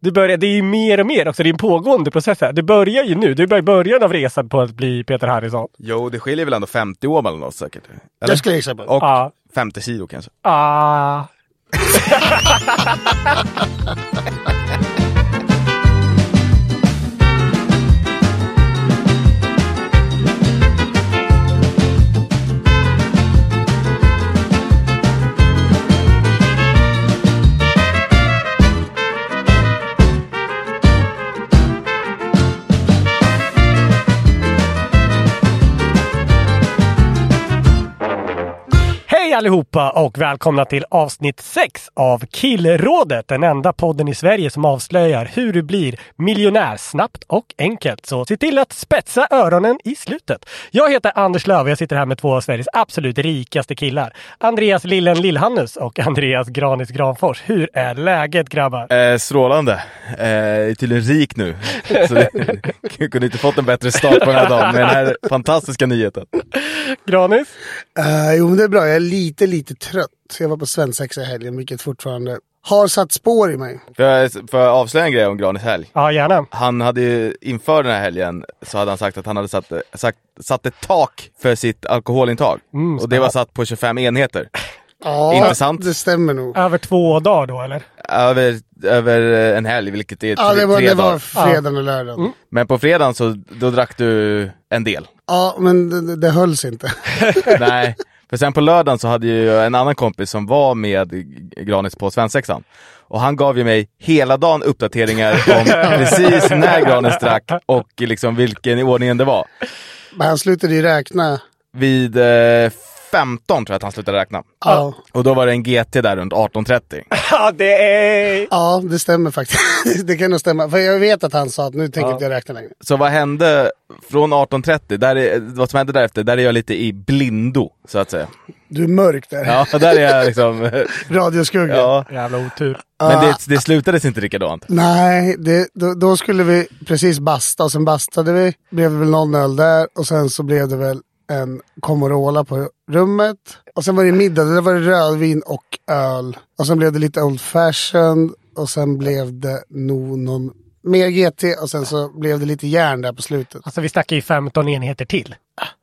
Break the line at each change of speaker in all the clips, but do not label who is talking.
Det, börjar, det är ju mer och mer också, det är en pågående process här. Det börjar ju nu, det är i början av resan på att bli Peter Harrison.
Jo, det skiljer väl ändå 50 år mellan oss säkert? Eller?
Det skulle jag gissa på.
Och
Ja.
50 kilo kanske.
Ah. Hej allihopa och välkomna till avsnitt 6 av Killrådet. Den enda podden i Sverige som avslöjar hur du blir miljonär snabbt och enkelt. Så se till att spetsa öronen i slutet. Jag heter Anders Löf och jag sitter här med två av Sveriges absolut rikaste killar. Andreas Lillen Lillhannus och Andreas Granis Granfors. Hur är läget grabbar?
Eh, strålande. Eh, jag är tydligen rik nu. Så det, jag kunde inte fått en bättre start på den här dagen med den här fantastiska nyheten.
Granis?
Eh, jo, men det är bra. Jag är lite, lite trött. Jag var på svensexa i helgen, vilket fortfarande har satt spår i mig.
Får jag, får jag avslöja en grej om Granis helg?
Ja, gärna.
Han hade ju inför den här helgen så hade han sagt att han hade satt, sagt, satt ett tak för sitt alkoholintag.
Mm,
och det var satt på 25 enheter.
Ja,
Intressant.
det stämmer nog.
Över två dagar då eller?
Över, över eh, en helg, vilket är tre,
Ja, det var,
tre
det var
dagar.
fredagen och lördagen.
Men på fredagen så då drack du en del.
Ja, men det, det- det hölls inte.
Nej, för sen på lördagen så hade ju en annan kompis som var med Granis på svensexan. Och han gav ju mig hela dagen uppdateringar om precis när Granis drack och liksom vilken i ordningen det var.
Men han slutade ju räkna.
Vid eh, 15 tror jag att han slutade räkna.
Ja,
Och då var det en GT där runt 18.30.
Ja, det är...
ja det stämmer faktiskt. det kan nog stämma. För jag vet att han sa att nu tänker inte jag räkna längre.
Så vad hände från 18.30, där är, vad som hände därefter, där är jag lite i blindo så att säga.
Du är mörk där.
Ja, där är jag liksom...
Radioskugga.
Ja.
Jävla otur.
Men det, det slutades inte likadant.
Nej, det, då, då skulle vi precis basta och sen bastade vi. Blev det väl någon öl där och sen så blev det väl en Comorola på rummet. Och sen var det middag, där var det rödvin och öl. Och sen blev det lite Old Fashioned och sen blev det nog någon mer GT och sen så blev det lite järn där på slutet.
Alltså vi snackar ju 15 enheter till.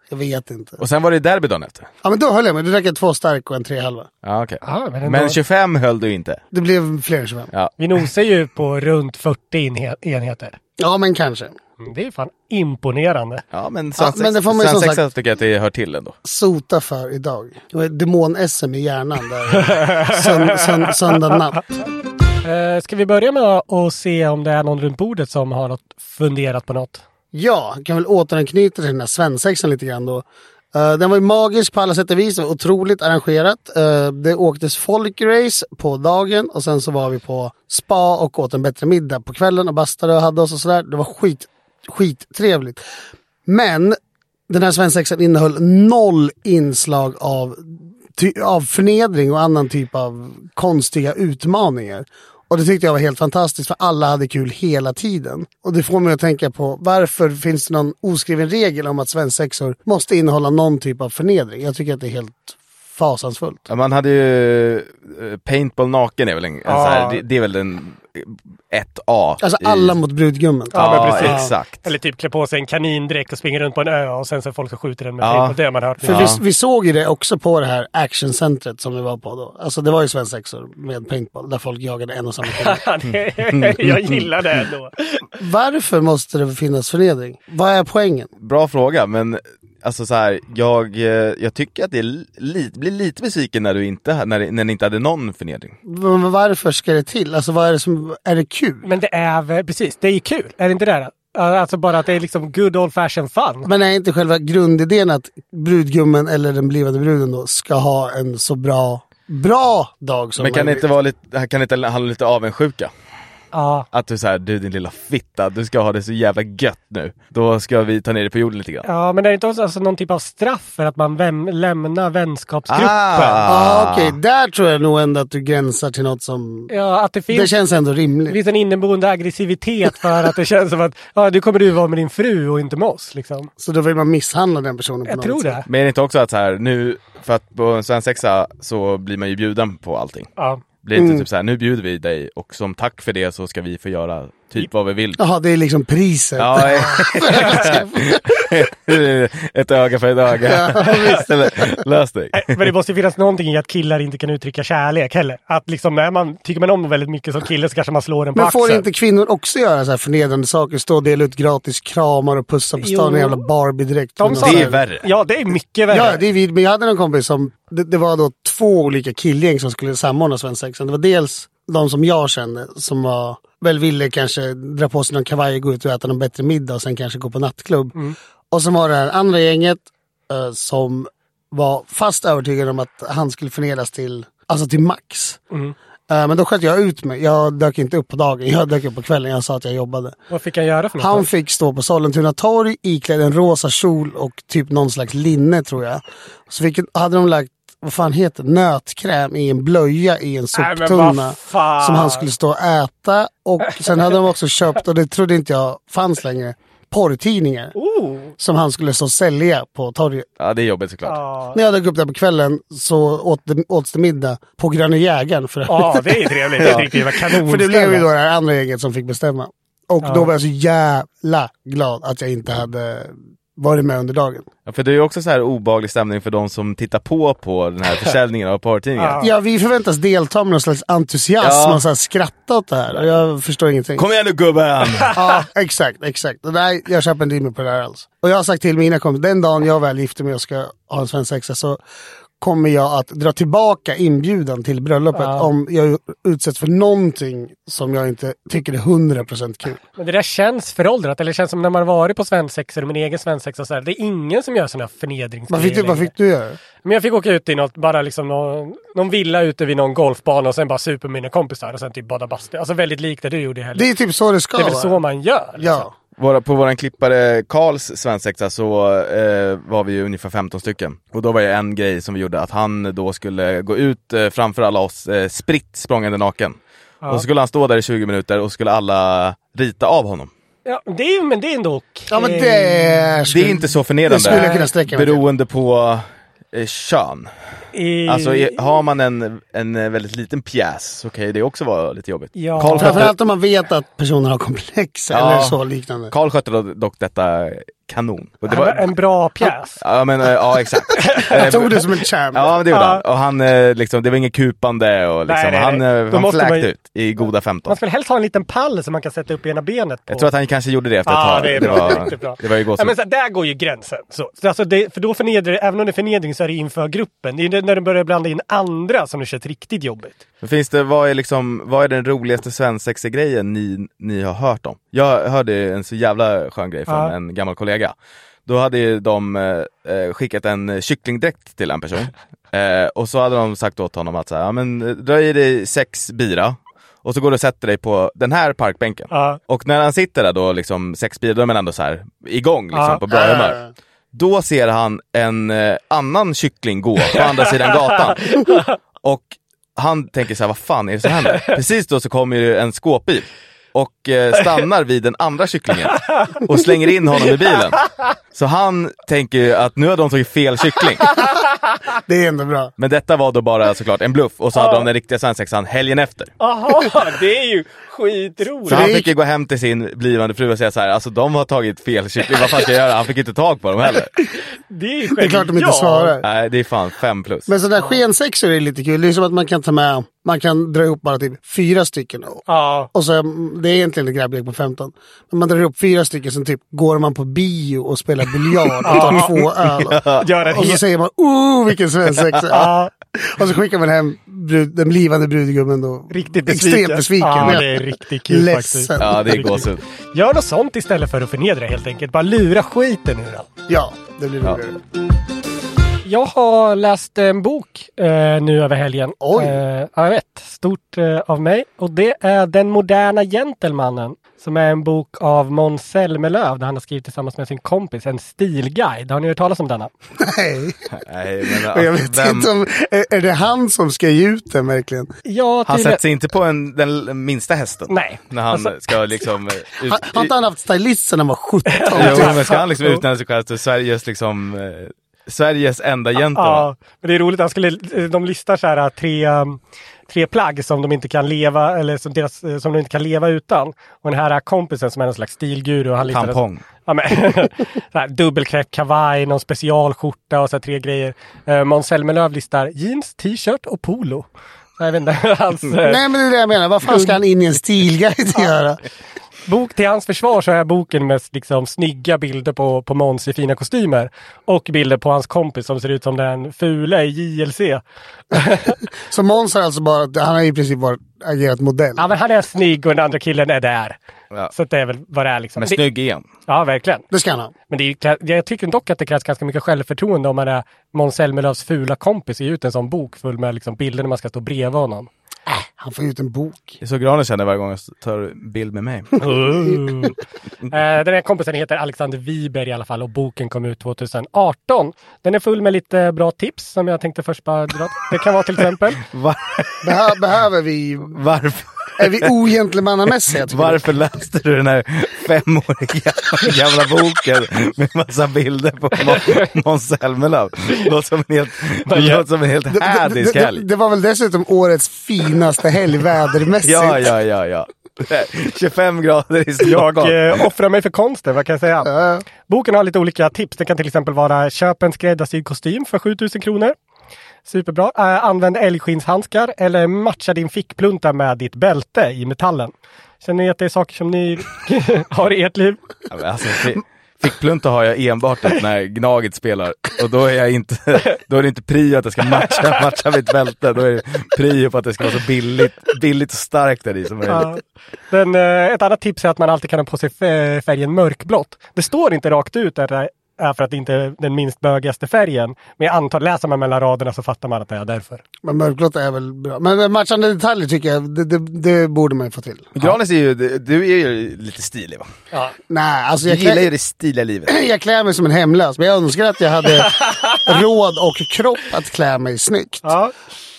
Jag vet inte.
Och sen var det derby dagen efter.
Ja men då höll jag mig, då drack jag två stark och en tre halva.
Ja, okej.
Ja, men ändå.
Men 25 höll du inte.
Det blev fler än 25.
Ja.
Vi nosar ju på runt 40 enhe- enheter.
Ja men kanske.
Mm, Det är fan imponerande.
Ja, men
Ja,
svensexa
men det får man ju som
svensexa tycker jag att det hör till ändå.
Sota för idag. Det var ett demon-SM i hjärnan där sönd- sönd- söndag natt.
Eh, ska vi börja med att se om det är någon runt bordet som har något, funderat på något?
Ja, kan väl återanknyta till den här svensexan lite grann då. Eh, den var ju magisk på alla sätt och vis. Det var otroligt arrangerat. Eh, det åktes folkrace på dagen och sen så var vi på spa och åt en bättre middag på kvällen och bastade och hade oss och sådär. Det var skit, skittrevligt. Men den här svensexan innehöll noll inslag av, ty, av förnedring och annan typ av konstiga utmaningar. Och det tyckte jag var helt fantastiskt för alla hade kul hela tiden. Och det får mig att tänka på varför finns det någon oskriven regel om att svensexor måste innehålla någon typ av förnedring? Jag tycker att det är helt fasansfullt.
Ja, Man hade ju... eh, Paintball naken är väl en, en
Ja.
så här, det, det är väl en 1A.
Alltså
i-
alla mot brudgummen.
Ja,
men precis.
exakt.
Eller typ klä på sig en kanindräkt och springa runt på en ö och sen så är folk som skjuter den med
Ja.
paintball. Det har man hört.
För
Ja.
vi, vi såg ju det också på det här actioncentret som vi var på då. Alltså det var ju svensexor med paintball där folk jagade en och samma kille.
Mm.
Det- Jag gillar det ändå.
Varför måste det finnas förnedring? Vad är poängen?
Bra fråga, men alltså så här, jag, eh, jag tycker att det är li, blir lite besviken när du inte, när, när ni inte hade någon förnedring.
Men varför ska det till? Alltså vad är det som, är det kul?
Men det är väl, precis, det är ju kul. Är det inte det? här? Alltså bara att det är liksom good old fashion fun.
Men är inte själva grundidén att brudgummen eller den blivande bruden då ska ha en så bra, bra dag som
Men kan det
möjligt?
inte vara lite, kan det inte handla lite avundsjuka?
Ja.
Att du såhär, du din lilla fitta, du ska ha det så jävla gött nu. Då ska vi ta ner dig på jorden lite grann.
Ja, men är det inte också alltså någon typ av straff för att man väm- lämnar vänskapsgruppen?
Ja Ah,
Ah.
okej, där tror jag nog ändå att du gränsar till något som...
Ja, att det
Det
finns,
känns ändå
det
rimligt.
finns en inneboende aggressivitet för att det känns som att ja, du kommer du vara med din fru och inte med oss. Liksom.
Så då vill man misshandla den personen på
Jag
något
tror
sätt.
det.
Men är det inte också att så här, nu, för att på en svensexa så blir man ju bjuden på allting.
Ja.
Blir det inte typ så här, nu bjuder vi dig och som tack för det så ska vi få göra typ vad vi vill.
Jaha, det är liksom priset.
Ja, eh, ett öga för ett öga. Eller, Lös dig.
Men det måste ju finnas någonting i att killar inte kan uttrycka kärlek heller. Att liksom när man tycker man om väldigt mycket som kille så kanske man slår den på
Men får
axeln.
inte kvinnor också göra så här förnedrande saker? Stå och dela ut gratis kramar och pussa på stan i
Jo.
jävla Barbie-dräkt.
De sa
Det är värre.
Ja, det är mycket värre.
Ja, det är vid, men jag hade en kompis som, det, det var då två olika killgäng som skulle samordna svensexan. Det var dels de som jag kände som var, väl ville kanske dra på sig någon kavaj och gå ut och äta någon bättre middag och sen kanske gå på nattklubb. Och sen var det här andra gänget eh, som var fast övertygade om att han skulle förnedras till, alltså till max. Eh, men då sköt jag ut mig. Jag dök inte upp på dagen, jag dök upp på kvällen. Jag sa att jag jobbade.
Vad fick han göra för något?
Han fick stå på Sollentuna torg iklädd en rosa kjol och typ någon slags linne tror jag. Så fick, hade de lagt, vad fan heter det, nötkräm i en blöja i en
Nej, men vad
soptunna.
fan.
Som han skulle stå och äta. Och sen hade de också köpt, och det trodde inte jag fanns längre, porrtidningar.
Oh.
Som han skulle stå och sälja på torget.
Ja, det är jobbigt såklart.
Ja,
När jag dök upp där på kvällen så åt det, åts det middag på Gröna Jägaren för övrigt.
Ja, det är trevligt. Det är riktigt jävla kanonställe.
För det blev ju då det här andra gänget som fick bestämma. Och
Ja.
då var jag så jävla glad att jag inte hade varit med under dagen.
Ja, för det är ju också så här obaglig stämning för de som tittar på på den här försäljningen av porrtidningar.
Ja.
Ja, vi förväntas delta med någon slags entusiasm
Ja.
och så här skratta åt det här. Och jag förstår ingenting.
Kom igen nu gubben!
Ja, exakt, exakt. Och nej, jag köper inte in mig på det här alls. Och jag har sagt till mina kompisar, den dagen jag väl gifter mig och ska ha en svensexa så kommer jag att dra tillbaka inbjudan till bröllopet om jag utsätts för någonting som jag inte tycker är 100% kul.
Men det där känns föråldrat. Eller det känns som när man har varit på svensexor, min egen svensexa och så här. Det är ingen som gör sådana
Vad
förnedringsgrejer
fick du, vad
längre.
fick du göra?
Men jag fick åka ut i något, bara liksom någon, någon villa ute vid någon golfbana och sen bara supa med mina kompisar och sen typ bada bastu. Alltså väldigt likt det du gjorde i helgen.
Det är typ så det ska
Det är väl
vara.
så man gör? Liksom.
Ja.
Våra, på våran klippare Karls svensexa så eh, var vi ju ungefär 15 stycken. Och då var det en grej som vi gjorde, att han då skulle gå ut eh, framför alla oss, eh, spritt språngande naken. Och så skulle han stå där i 20 minuter och skulle alla rita av honom.
ja det är, men det är ändå okej.
Ja men det
Eh, Det
skulle,
är inte så
det
förnedrande.
skulle jag kunna sträcka mig till.
Beroende på eh, kön.
I-
Alltså är, har man en, en eh, väldigt liten pjäs så kan ju det också vara lite jobbigt.
Ja.
Karl skötte,
Framförallt om man vet att personen har komplex
Ja.
eller så liknande.
Karl skötte dock- dock detta kanon. Och det
Han var en bra pjäs.
Ja men eh, ja exakt.
Jag tog det som en champ.
Ja men det gjorde
Ja.
han. Och han eh, liksom, det var inget kupande och liksom,
Nej, nej,
han,
nej.
eh,
Då
han
måste
fläkt
man ju-
ut i goda 15.
Man skulle helst ha en liten pall som man kan sätta upp i ena benet på.
Jag tror att han kanske gjorde det efter ett
Ja,
tag.
det är bra. Det är
var,
riktigt bra.
det var ju
Ja,
gåshud.
men så, här, där går ju gränsen. Så, så alltså det, för då förnedrar det, även om det är förnedring så är det inför gruppen. Det är ju det- när du börjar blanda in andra som det känns riktigt jobbigt.
Men Finns det, vad är liksom, vad är den roligaste svensexegrejen ni, ni har hört om? Jag hörde en så jävla skön grej från
Ja.
en gammal kollega. Då hade ju de eh, eh, skickat en eh, kycklingdräkt till en person. Eh, och så hade de sagt åt honom att så här, ja, men eh, dra i dig sex bira och så går du och sätter dig på den här parkbänken.
Ja.
Och när han sitter där då, liksom sex bira, då är man ändå så här igång liksom,
Ja.
på bra humör. Då ser han en eh, annan kyckling gå på andra sidan gatan. Och han tänker så här, vad fan är det som händer? Precis då så kommer ju en skåpbil och eh, stannar vid den andra kycklingen och slänger in honom i bilen. Så han tänker ju att nu har de tagit fel kyckling.
Det är ändå bra.
Men detta var då bara såklart en bluff och så hade de den riktiga svensexan helgen efter.
Aha, det är ju
Så
skitroligt.
han fick ju gå hem till sin blivande fru och säga så här, alltså de har tagit fel kyckling, vad fan ska jag göra? Han fick inte tag på dem heller.
Det är,
Det är klart de inte svarar.
Nej, det är fan fem plus.
Men sådana där skensexor är lite kul. Det är som att man kan ta med Man kan dra ihop bara typ fyra stycken. Och,
Ja.
och så, det är egentligen en grabblek på 15. Men man drar ihop fyra stycken, sen typ går man på bio och spelar biljard och tar två öl.
Gör en
Och så
hel...
säger man oh vilken svensexa.
Ja.
Och så skickar man hem brud, den blivande brudgummen då.
Riktigt besviken.
Extremt besviken.
Ja, det är riktigt kul
Ledsen.
faktiskt.
Ja, det är gåshud.
Gör något sånt istället för att förnedra helt enkelt. Bara lura skiten ur den.
Ja, det blir
Ja.
roligare.
Jag har läst en bok eh, nu över helgen.
Oj.
Eh, ja, jag vet. Stort eh, av mig. Och det är Den moderna gentlemannen. Som är en bok av Måns Zelmerlöw där han har skrivit tillsammans med sin kompis en stilguide. Har ni hört talas om denna?
Nej,
Nej, men,
men jag
alltså,
vet
vem-
inte om... Är, är det han som ska ge ut den verkligen?
Ja,
Han
tydligen-
sätter sig inte på en, den minsta hästen.
Nej.
När han
Alltså-
ska liksom... eh, Ut...
Har, har inte han haft stylist sedan han var Typ. 17?
Jo, men ska han liksom utnämna sig själv till Sveriges liksom... eh, Sveriges enda gentleman.
Ja, men det är roligt. Han skulle, de listar så här tre, um, tre plagg som de inte kan leva eller som, deras, eh, som de inte kan leva utan. Och den här äh, kompisen som är någon slags stilguru. Han listar-
Tampong.
Ja, men, så här, dubbelknäppt kavaj, någon specialskjorta och så här, tre grejer. Eh, Måns Zelmerlöw listar jeans, t-shirt och polo. Så jag vet inte, hans, eh,
Nej men det är det jag menar, vad fan ska han in i en stilguide och göra?
bok, till hans försvar så är boken mest liksom, snygga bilder på, på Måns i fina kostymer. Och bilder på hans kompis som ser ut som den fula i JLC.
Så Måns har alltså bara, han har i princip bara agerat modell.
Ja, men han är snygg och den andra killen är där.
Ja.
Så att det är väl vad det är liksom.
Men
Det-
snygg igen.
Ja, verkligen.
Det ska han ha.
Men det är, ju klä- jag tycker dock att det krävs ganska mycket självförtroende om man är Måns Zelmerlöws fula kompis och ger ut en sån bok full med liksom bilder när man ska stå bredvid honom.
Äh, Han får ut en bok.
Det är så granen känner varje gång jag tar bild med mig.
Uh. Den här kompisen heter Alexander Wiberg i alla fall och boken kom ut 2018. Den är full med lite bra tips som jag tänkte först bara dra. Det kan vara till exempel.
Var,
Behö- behöver vi...
varför,
Är vi ogentlemannamässiga? tycker du?
varför läste du den här femåriga gamla boken med massa bilder på Må- Måns Zelmerlöw? Låter som en helt, det låter som en helt
Det-
hädisk
det, det,
helg.
det var väl dessutom årets finaste helg vädermässigt.
Ja, ja, ja, ja. 25 grader i
Jag
Stockholm.
eh, offrar mig för konsten, vad kan jag säga?
Ja.
Boken har lite olika tips. Det kan till exempel vara köp en skräddarsydd kostym för 7000 kronor. Superbra. Eh, använd älgskinnshandskar eller matcha din fickplunta med ditt bälte i metallen. Känner ni att det är saker som ni har i ert liv?
Ja, men Alltså, fi- fickplunta har jag enbart att när Gnaget spelar och då är, jag inte, då är det inte prio att jag ska matcha, matcha mitt bälte. Då är det prio på att det ska vara så billigt, billigt och starkt där i som möjligt.
Ja. Den, eh, ett annat tips är att man alltid kan ha på sig fä- färgen mörkblått. Det står inte rakt ut att det är för att det inte är den minst bögigaste färgen. Men jag antar, läser man mellan raderna så fattar man att det är därför.
Men mörkblått är väl bra. Men matchande detaljer tycker jag, det, det, det borde man ju få till.
Granis är ju, du är ju lite stilig va?
Nej, alltså
Du
jag
gillar ju
klär,
det stiliga livet.
jag klär mig som en hemlös, men jag önskar att jag hade råd och kropp att klä mig snyggt.
Ja.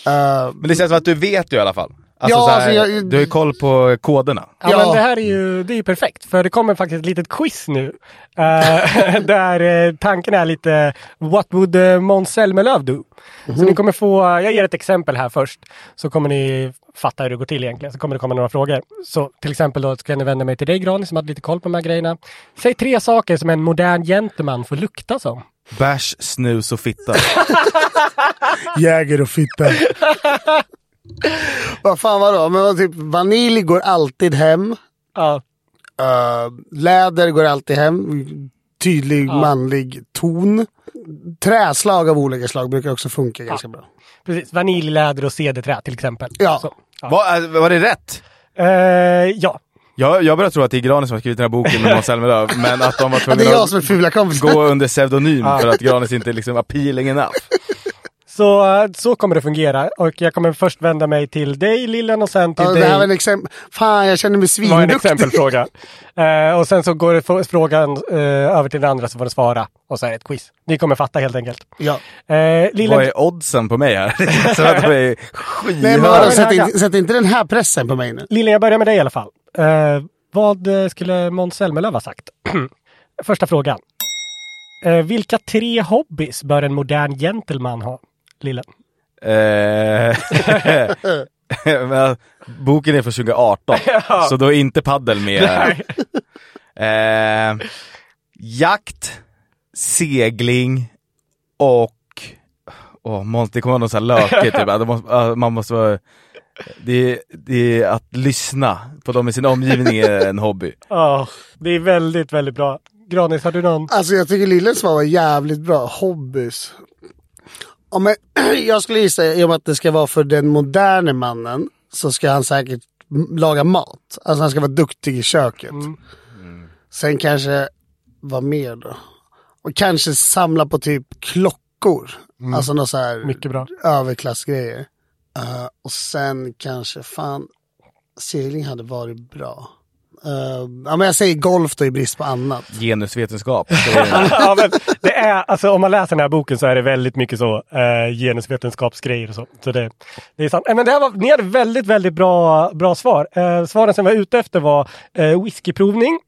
Eh,
Men det känns som att du vet ju i alla fall. Alltså,
Ja,
så här,
alltså, jag-
Du har ju koll på koderna.
Ja,
Ja.
men det här är ju, det är ju perfekt, för det kommer faktiskt ett litet quiz nu. Eh, där eh, tanken är lite What would eh, Måns Zelmerlöw do?
Mhm.
Så ni kommer få, eh, jag ger ett exempel här först, så kommer ni fatta hur det går till egentligen. Så kommer det komma några frågor. Så till exempel då ska jag vända mig till dig Grani som hade lite koll på de här grejerna. Säg tre saker som en modern gentleman får lukta som.
Bärs, snus och fitta.
Jäger och fitta. vad fan vadå? Men vad typ, vanilj går alltid hem.
Ja,
Eh, läder går alltid hem. Tydlig manlig ton. Träslag av olika slag brukar också funka ganska bra.
precis. Vaniljläder och cederträ till exempel.
Ja.
Så, ja.
var, alltså, var det rätt?
Eh, ja.
Jag, jag börjar tro att det är Granis som har skrivit den här boken med Måns Zelmerlöw, men att de var
Ja, det är
tvungna
jag
att
som är fula kompisen.
gå under pseudonym för att Granis inte är liksom appealing enough.
Så, eh, så kommer det fungera. Och jag kommer först vända mig till dig Lillen och sen till
Ja,
dig.
det här var en exempel. Fan, jag känner mig
Det var en
svinduktig.
exempelfråga. Eh, och sen så går det f- frågan eh, över till den andra så får den svara. Och så är det ett quiz. Ni kommer fatta helt enkelt.
Ja.
Eh, Lillen,
Vad är oddsen på mig här? Så att de är
Nej, men vadå,
skyhöga.
sätt, inte, sätt inte den här pressen på mig nu.
Lillen, jag börjar med dig i alla fall. Eh, vad eh, skulle Måns Zelmerlöw ha sagt? Första frågan. Eh, vilka tre hobbys bör en modern gentleman ha? Lillen.
Eh, men, boken är från 2018, så då är inte paddel med. Eh, jakt, segling och... Åh, Måns, det kommer vara något så här lökigt. Typ. Att det måste- att Man måste vara Det är, det är att lyssna på dem i sin omgivning är en hobby.
Ja, det är väldigt, väldigt bra. Granis, har du någon?
Alltså jag tycker Lilles svar var jävligt bra. Hobbys. Ja, men, jag skulle gissa, i och med att det ska vara för den moderne mannen, så ska han säkert m- laga mat. Alltså han ska vara duktig i köket. Sen kanske, vad mer då? Och kanske samla på typ klockor. Alltså något så här
Mycket bra.
överklassgrejer. Eh, och sen kanske, fan, segling hade varit bra. Eh, ja, men jag säger golf då i brist på annat.
Genusvetenskap. Det är-
ja, men det är, alltså, om man läser den här boken så är det väldigt mycket så eh, genusvetenskapsgrejer och så. så det, det är sant. Eh, Men det här var, ni hade väldigt, väldigt bra, bra svar. Eh, svaren som jag var ute efter var eh, whiskyprovning,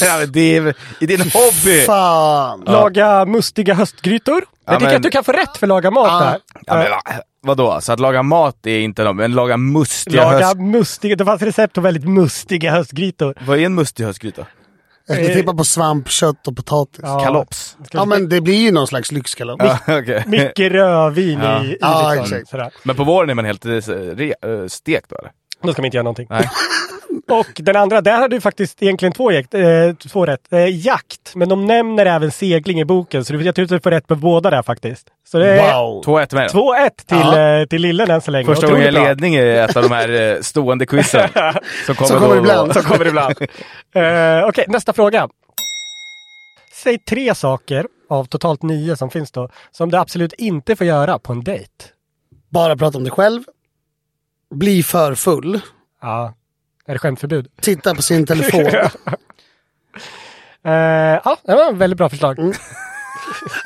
Ja, men det, är, det är en hobby!
Fan!
laga mustiga höstgrytor. Jag tycker
men-
att du kan få rätt för laga mat
Ja.
där.
Ja, men, va- vadå? Så att laga mat är inte något, men laga mustiga
Laga
höst...
mustiga, det fanns recept på väldigt mustiga höstgrytor.
Vad är en mustig höstgryta?
Jag skulle tippa på svamp, kött och potatis. Ja,
Kalops?
men det blir ju någon slags lyxkalopp.
Ja, okej.
Mycket rödvin i, i
Ja,
liksom,
exakt.
sådär.
Men på våren är man helt eh, re, eh, stekt då eller?
Då ska man inte göra någonting.
Nej.
Och den andra, där har du faktiskt egentligen två, jakt, eh, två rätt. Eh, jakt, men de nämner även segling i boken. Så du- jag tror att du får rätt på båda där faktiskt. Så det är
Wow!
2-1 med den.
2-1 till,
Ja.
eh, till Lillen än så länge.
Första gången jag
Otroligt
är
bra.
ledning i ett av de här eh, stående quizen. Som kommer,
Som
då och
kommer
då.
ibland.
Så kommer det ibland. eh, Okej, nästa fråga. Säg tre saker av totalt nio som finns då, som du absolut inte får göra på en dejt.
Bara prata om dig själv. Bli för full.
Ja, är det skämtförbud?
Titta på sin telefon.
Eh, ja, det var ett väldigt bra förslag.
Mm.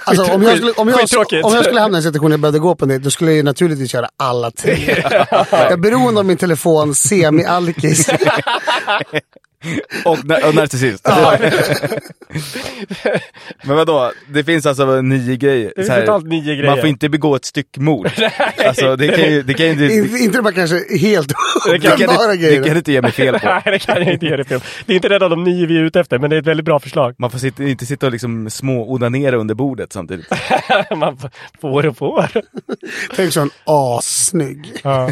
Alltså, om, jag skulle, om, jag,
Skittråkigt.
om jag skulle hamna i en situation där jag behövde gå på en dejt, då skulle jag ju naturligtvis göra alla tre. Jag är beroende av min telefon, semi-alkis.
Och, na- och narcissist. Men vadå, det finns alltså nio grejer.
finns
Så här,
totalt nio grejer.
Man får inte begå ett styckmord. alltså, det kan ju, det kan ju inte...
Inte- Inte bara kanske helt
Det kan, det,
uppenbara
kan, det kan
grejer.
du inte ge mig fel på.
Nej, det kan jag inte ge dig fel. Det är inte den av de nio vi är ute efter, men det är ett väldigt bra förslag.
Man får sitta, inte sitta och liksom små-onanera under bordet samtidigt.
Man f- får och får.
Tänk sån assnygg.
Ja.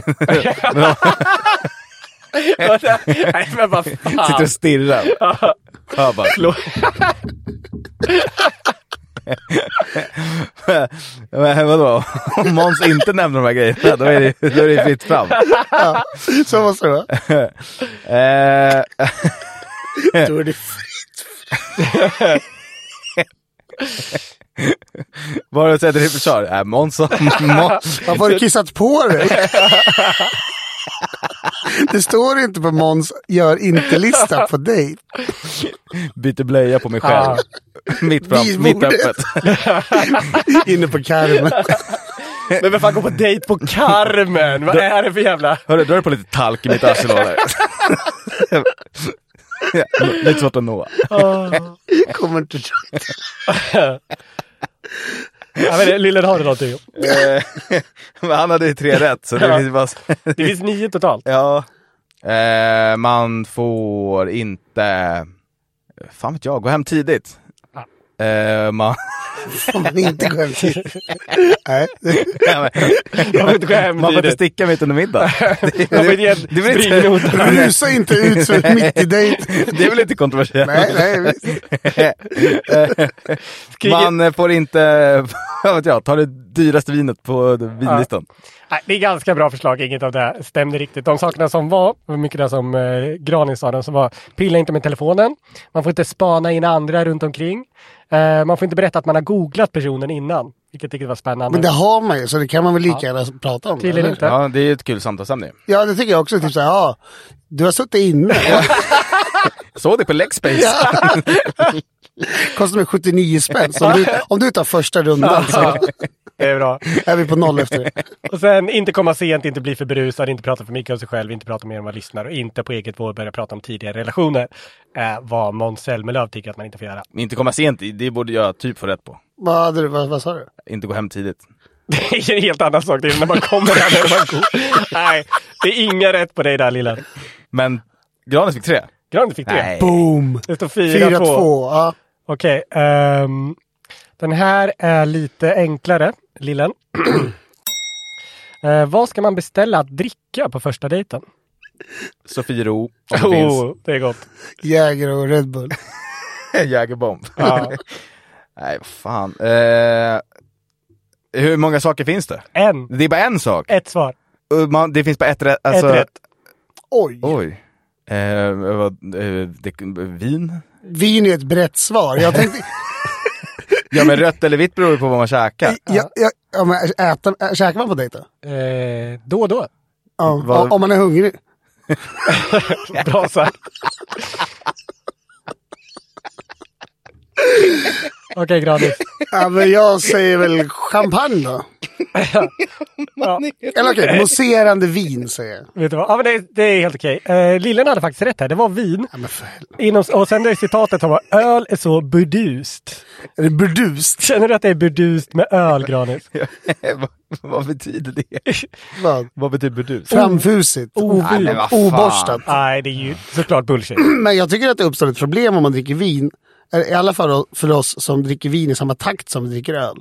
Nej, men vad
Sitter
fan.
och stirrar. Ja, bara.
Lo-
Men vadå, om Måns inte nämner de här grejerna, då är det, då är det fritt fram.
Så måste det vara.
Eh,
Då är det
vad har du att säga till ditt försvar? Äh, Måns sa- Måns-
Varför har du kissat på dig? Det står inte på Måns gör inte-lista på dig.
byter blöja på mig själv.
Ja.
Mitt,
Vid
fram, mitt
bordet.
öppet.
Inne på karmen.
Men vem fan går på dejt på Carmen? Vad är det för jävla...
Hörru, drar du på lite talk i mitt arsenal här? Ja, Lite svårt att nå.
Kommer inte...
Ja, men det- Lillen, har du någonting?
Eh, men han hade ju tre rätt, så det
Ja.
finns bara...
Det finns nio totalt.
Ja. Eh, man får inte... Fan vet jag, gå hem tidigt. Eh, man...
Om man inte går hem till. Nej.
Man får inte gå hem
man får inte
tidigt.
sticka mitt under middag. Det,
Man får inte ge en
det, är väl inte,
springnota.
Rusa inte ut för ett mitt i dejt.
det är väl inte kontroversiellt?
Nej, nej. visst.
Kriget-
Man eh, får inte, vad vet jag, ta det dyraste vinet på vinlistan.
Nej, det är ganska bra förslag. Inget av det här stämde riktigt. De sakerna som var, var mycket det som eh, Granin sa, de som var pilla inte med telefonen. Man får inte spana in andra runt omkring. Eh, man får inte berätta att man har googlat personen innan. Vilket tycker jag var spännande.
Men det har man ju, så det kan man väl lika gärna prata om.
Tydligen
eller?
inte.
Ja, det är ju ett kul samtalsämne.
Ja, det tycker jag också. Typ så här, ja, du har suttit inne.
Såg det på Lexbase.
Kostar mig 79 spänn. Så om, du, om du tar första rundan så
Det är bra.
är vi på noll efter det.
Och sen inte komma sent, inte bli för berusad, inte prata för mycket om sig själv, inte prata mer än vad man lyssnar och inte på eget vår börja prata om tidigare relationer. Eh, vad Måns Zelmerlöw tycker att man inte får göra.
Inte komma sent, det borde jag typ få rätt på.
Vad, hade du, vad, vad sa du?
Inte gå hem tidigt.
Det är en helt annan sak. Det är när man kommer där när man går. Nej, det är inga rätt på dig där lilla.
Men Granis fick tre.
Granin fick det.
Boom!
Det står
4-2.
4-2.
Ja.
Okej. ehm, den här är lite enklare, Lillen. Eh, vad ska man beställa att dricka dricka på första dejten?
Sofiero, om det finns.
Oh, det är gott.
Jäger och Red Bull.
Jägerbomb.
Ja.
Nej, vad fan. Eh, hur många saker finns det?
En,
Det är bara en sak.
ett svar.
Och Man, det finns bara ett rätt.
Ett
Alltså,
rätt.
Oj!
Oj. Eh, vad, eh, det, vin?
Vin är ett brett svar. Jag tänkte,
Ja men rött eller vitt beror ju på vad man käkar.
ja, ja, ja, men äta, ä, käkar man på dejt då?
Eh, då och då.
Ja,
Var-
om- om man är hungrig.
Bra sagt. Okej, Granis.
Ja, men jag säger väl champagne då.
Ja,
Eller okej, mousserande vin säger jag.
vet du vad? Ja, men det, det är helt okej. Eh, Lillen hade faktiskt rätt här. Det var vin.
Ja, men för helvete.
Inom, och sen det citatet som var öl är så burdust.
Är det burdust?
Känner du att det är burdust med öl, Granis?
vad, vad betyder det?
Vad?
Vad betyder du?
Framfusigt.
Nej, men
vad fan.
Oborstat.
Nej, det är ju såklart bullshit.
Men jag tycker att det uppstår ett problem om man dricker vin. Eller I alla fall för oss som dricker vin i samma takt som vi dricker öl.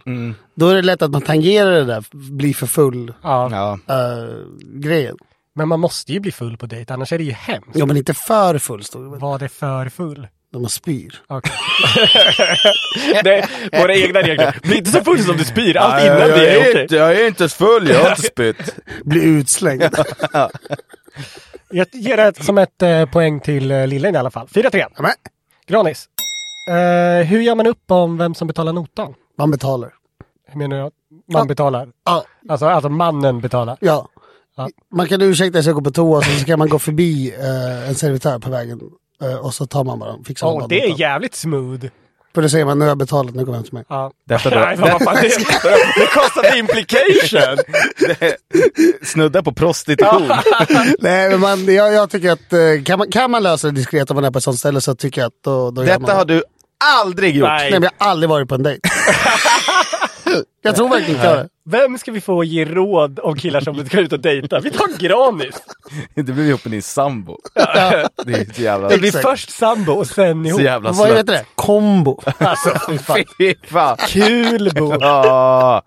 Då är det lätt att man tangerar det där, blir för full
Ja.
Ja.
eh, grejen.
Men man måste ju bli full på dejt, annars är det ju hemskt.
Ja men inte för full står det väl,
Var det för full?
när man spyr.
Okej. det är våra egna regler. Bli inte så full som du spyr. Allt
jag,
innan
jag,
det är
är
okej.
inte, jag är inte full, jag har inte spytt.
Blir utslängd.
Jag ger det som ett eh, poäng till eh, Lillen i alla fall. 4-3.
Ja, men,
Granis. Eh, hur gör man upp om vem som betalar notan?
man betalar.
Hur menar du? att Man betalar.
Ja,
Alltså, alltså mannen betalar.
ja.
Ja.
Man kan ursäkta sig och gå på toa, så så kan man gå förbi eh, en servitör på vägen. eh, och så tar man bara, fixar man
Åh,
bara
det är
notan.
jävligt smooth.
För då säger man, nu har jag betalat, nu går jag hem till mig.
Ja.
Därför då-
Nej, vad vad fan, det, det kostar the implication.
Snudda på prostitution.
Nej, Eh, men man, jag, jag tycker att eh, kan man, kan man lösa det diskret om man är på ett sånt ställe så tycker jag att då, då gör man
Detta
det.
har du aldrig gjort.
Nej.
Nej, men jag har aldrig varit på en dejt. jag tror verkligen inte jag har det.
Vem ska vi få ge råd om killar som ska ut och dejta? Vi tar Granis.
Du blev ihop med din sambo. Det är så jävla...
Det blir
Exakt.
först sambo och sen ihop.
Så jävla
Vad heter det? Kombo.
Alltså,
Fan.
Fy fan.
kul Bo!
Ja.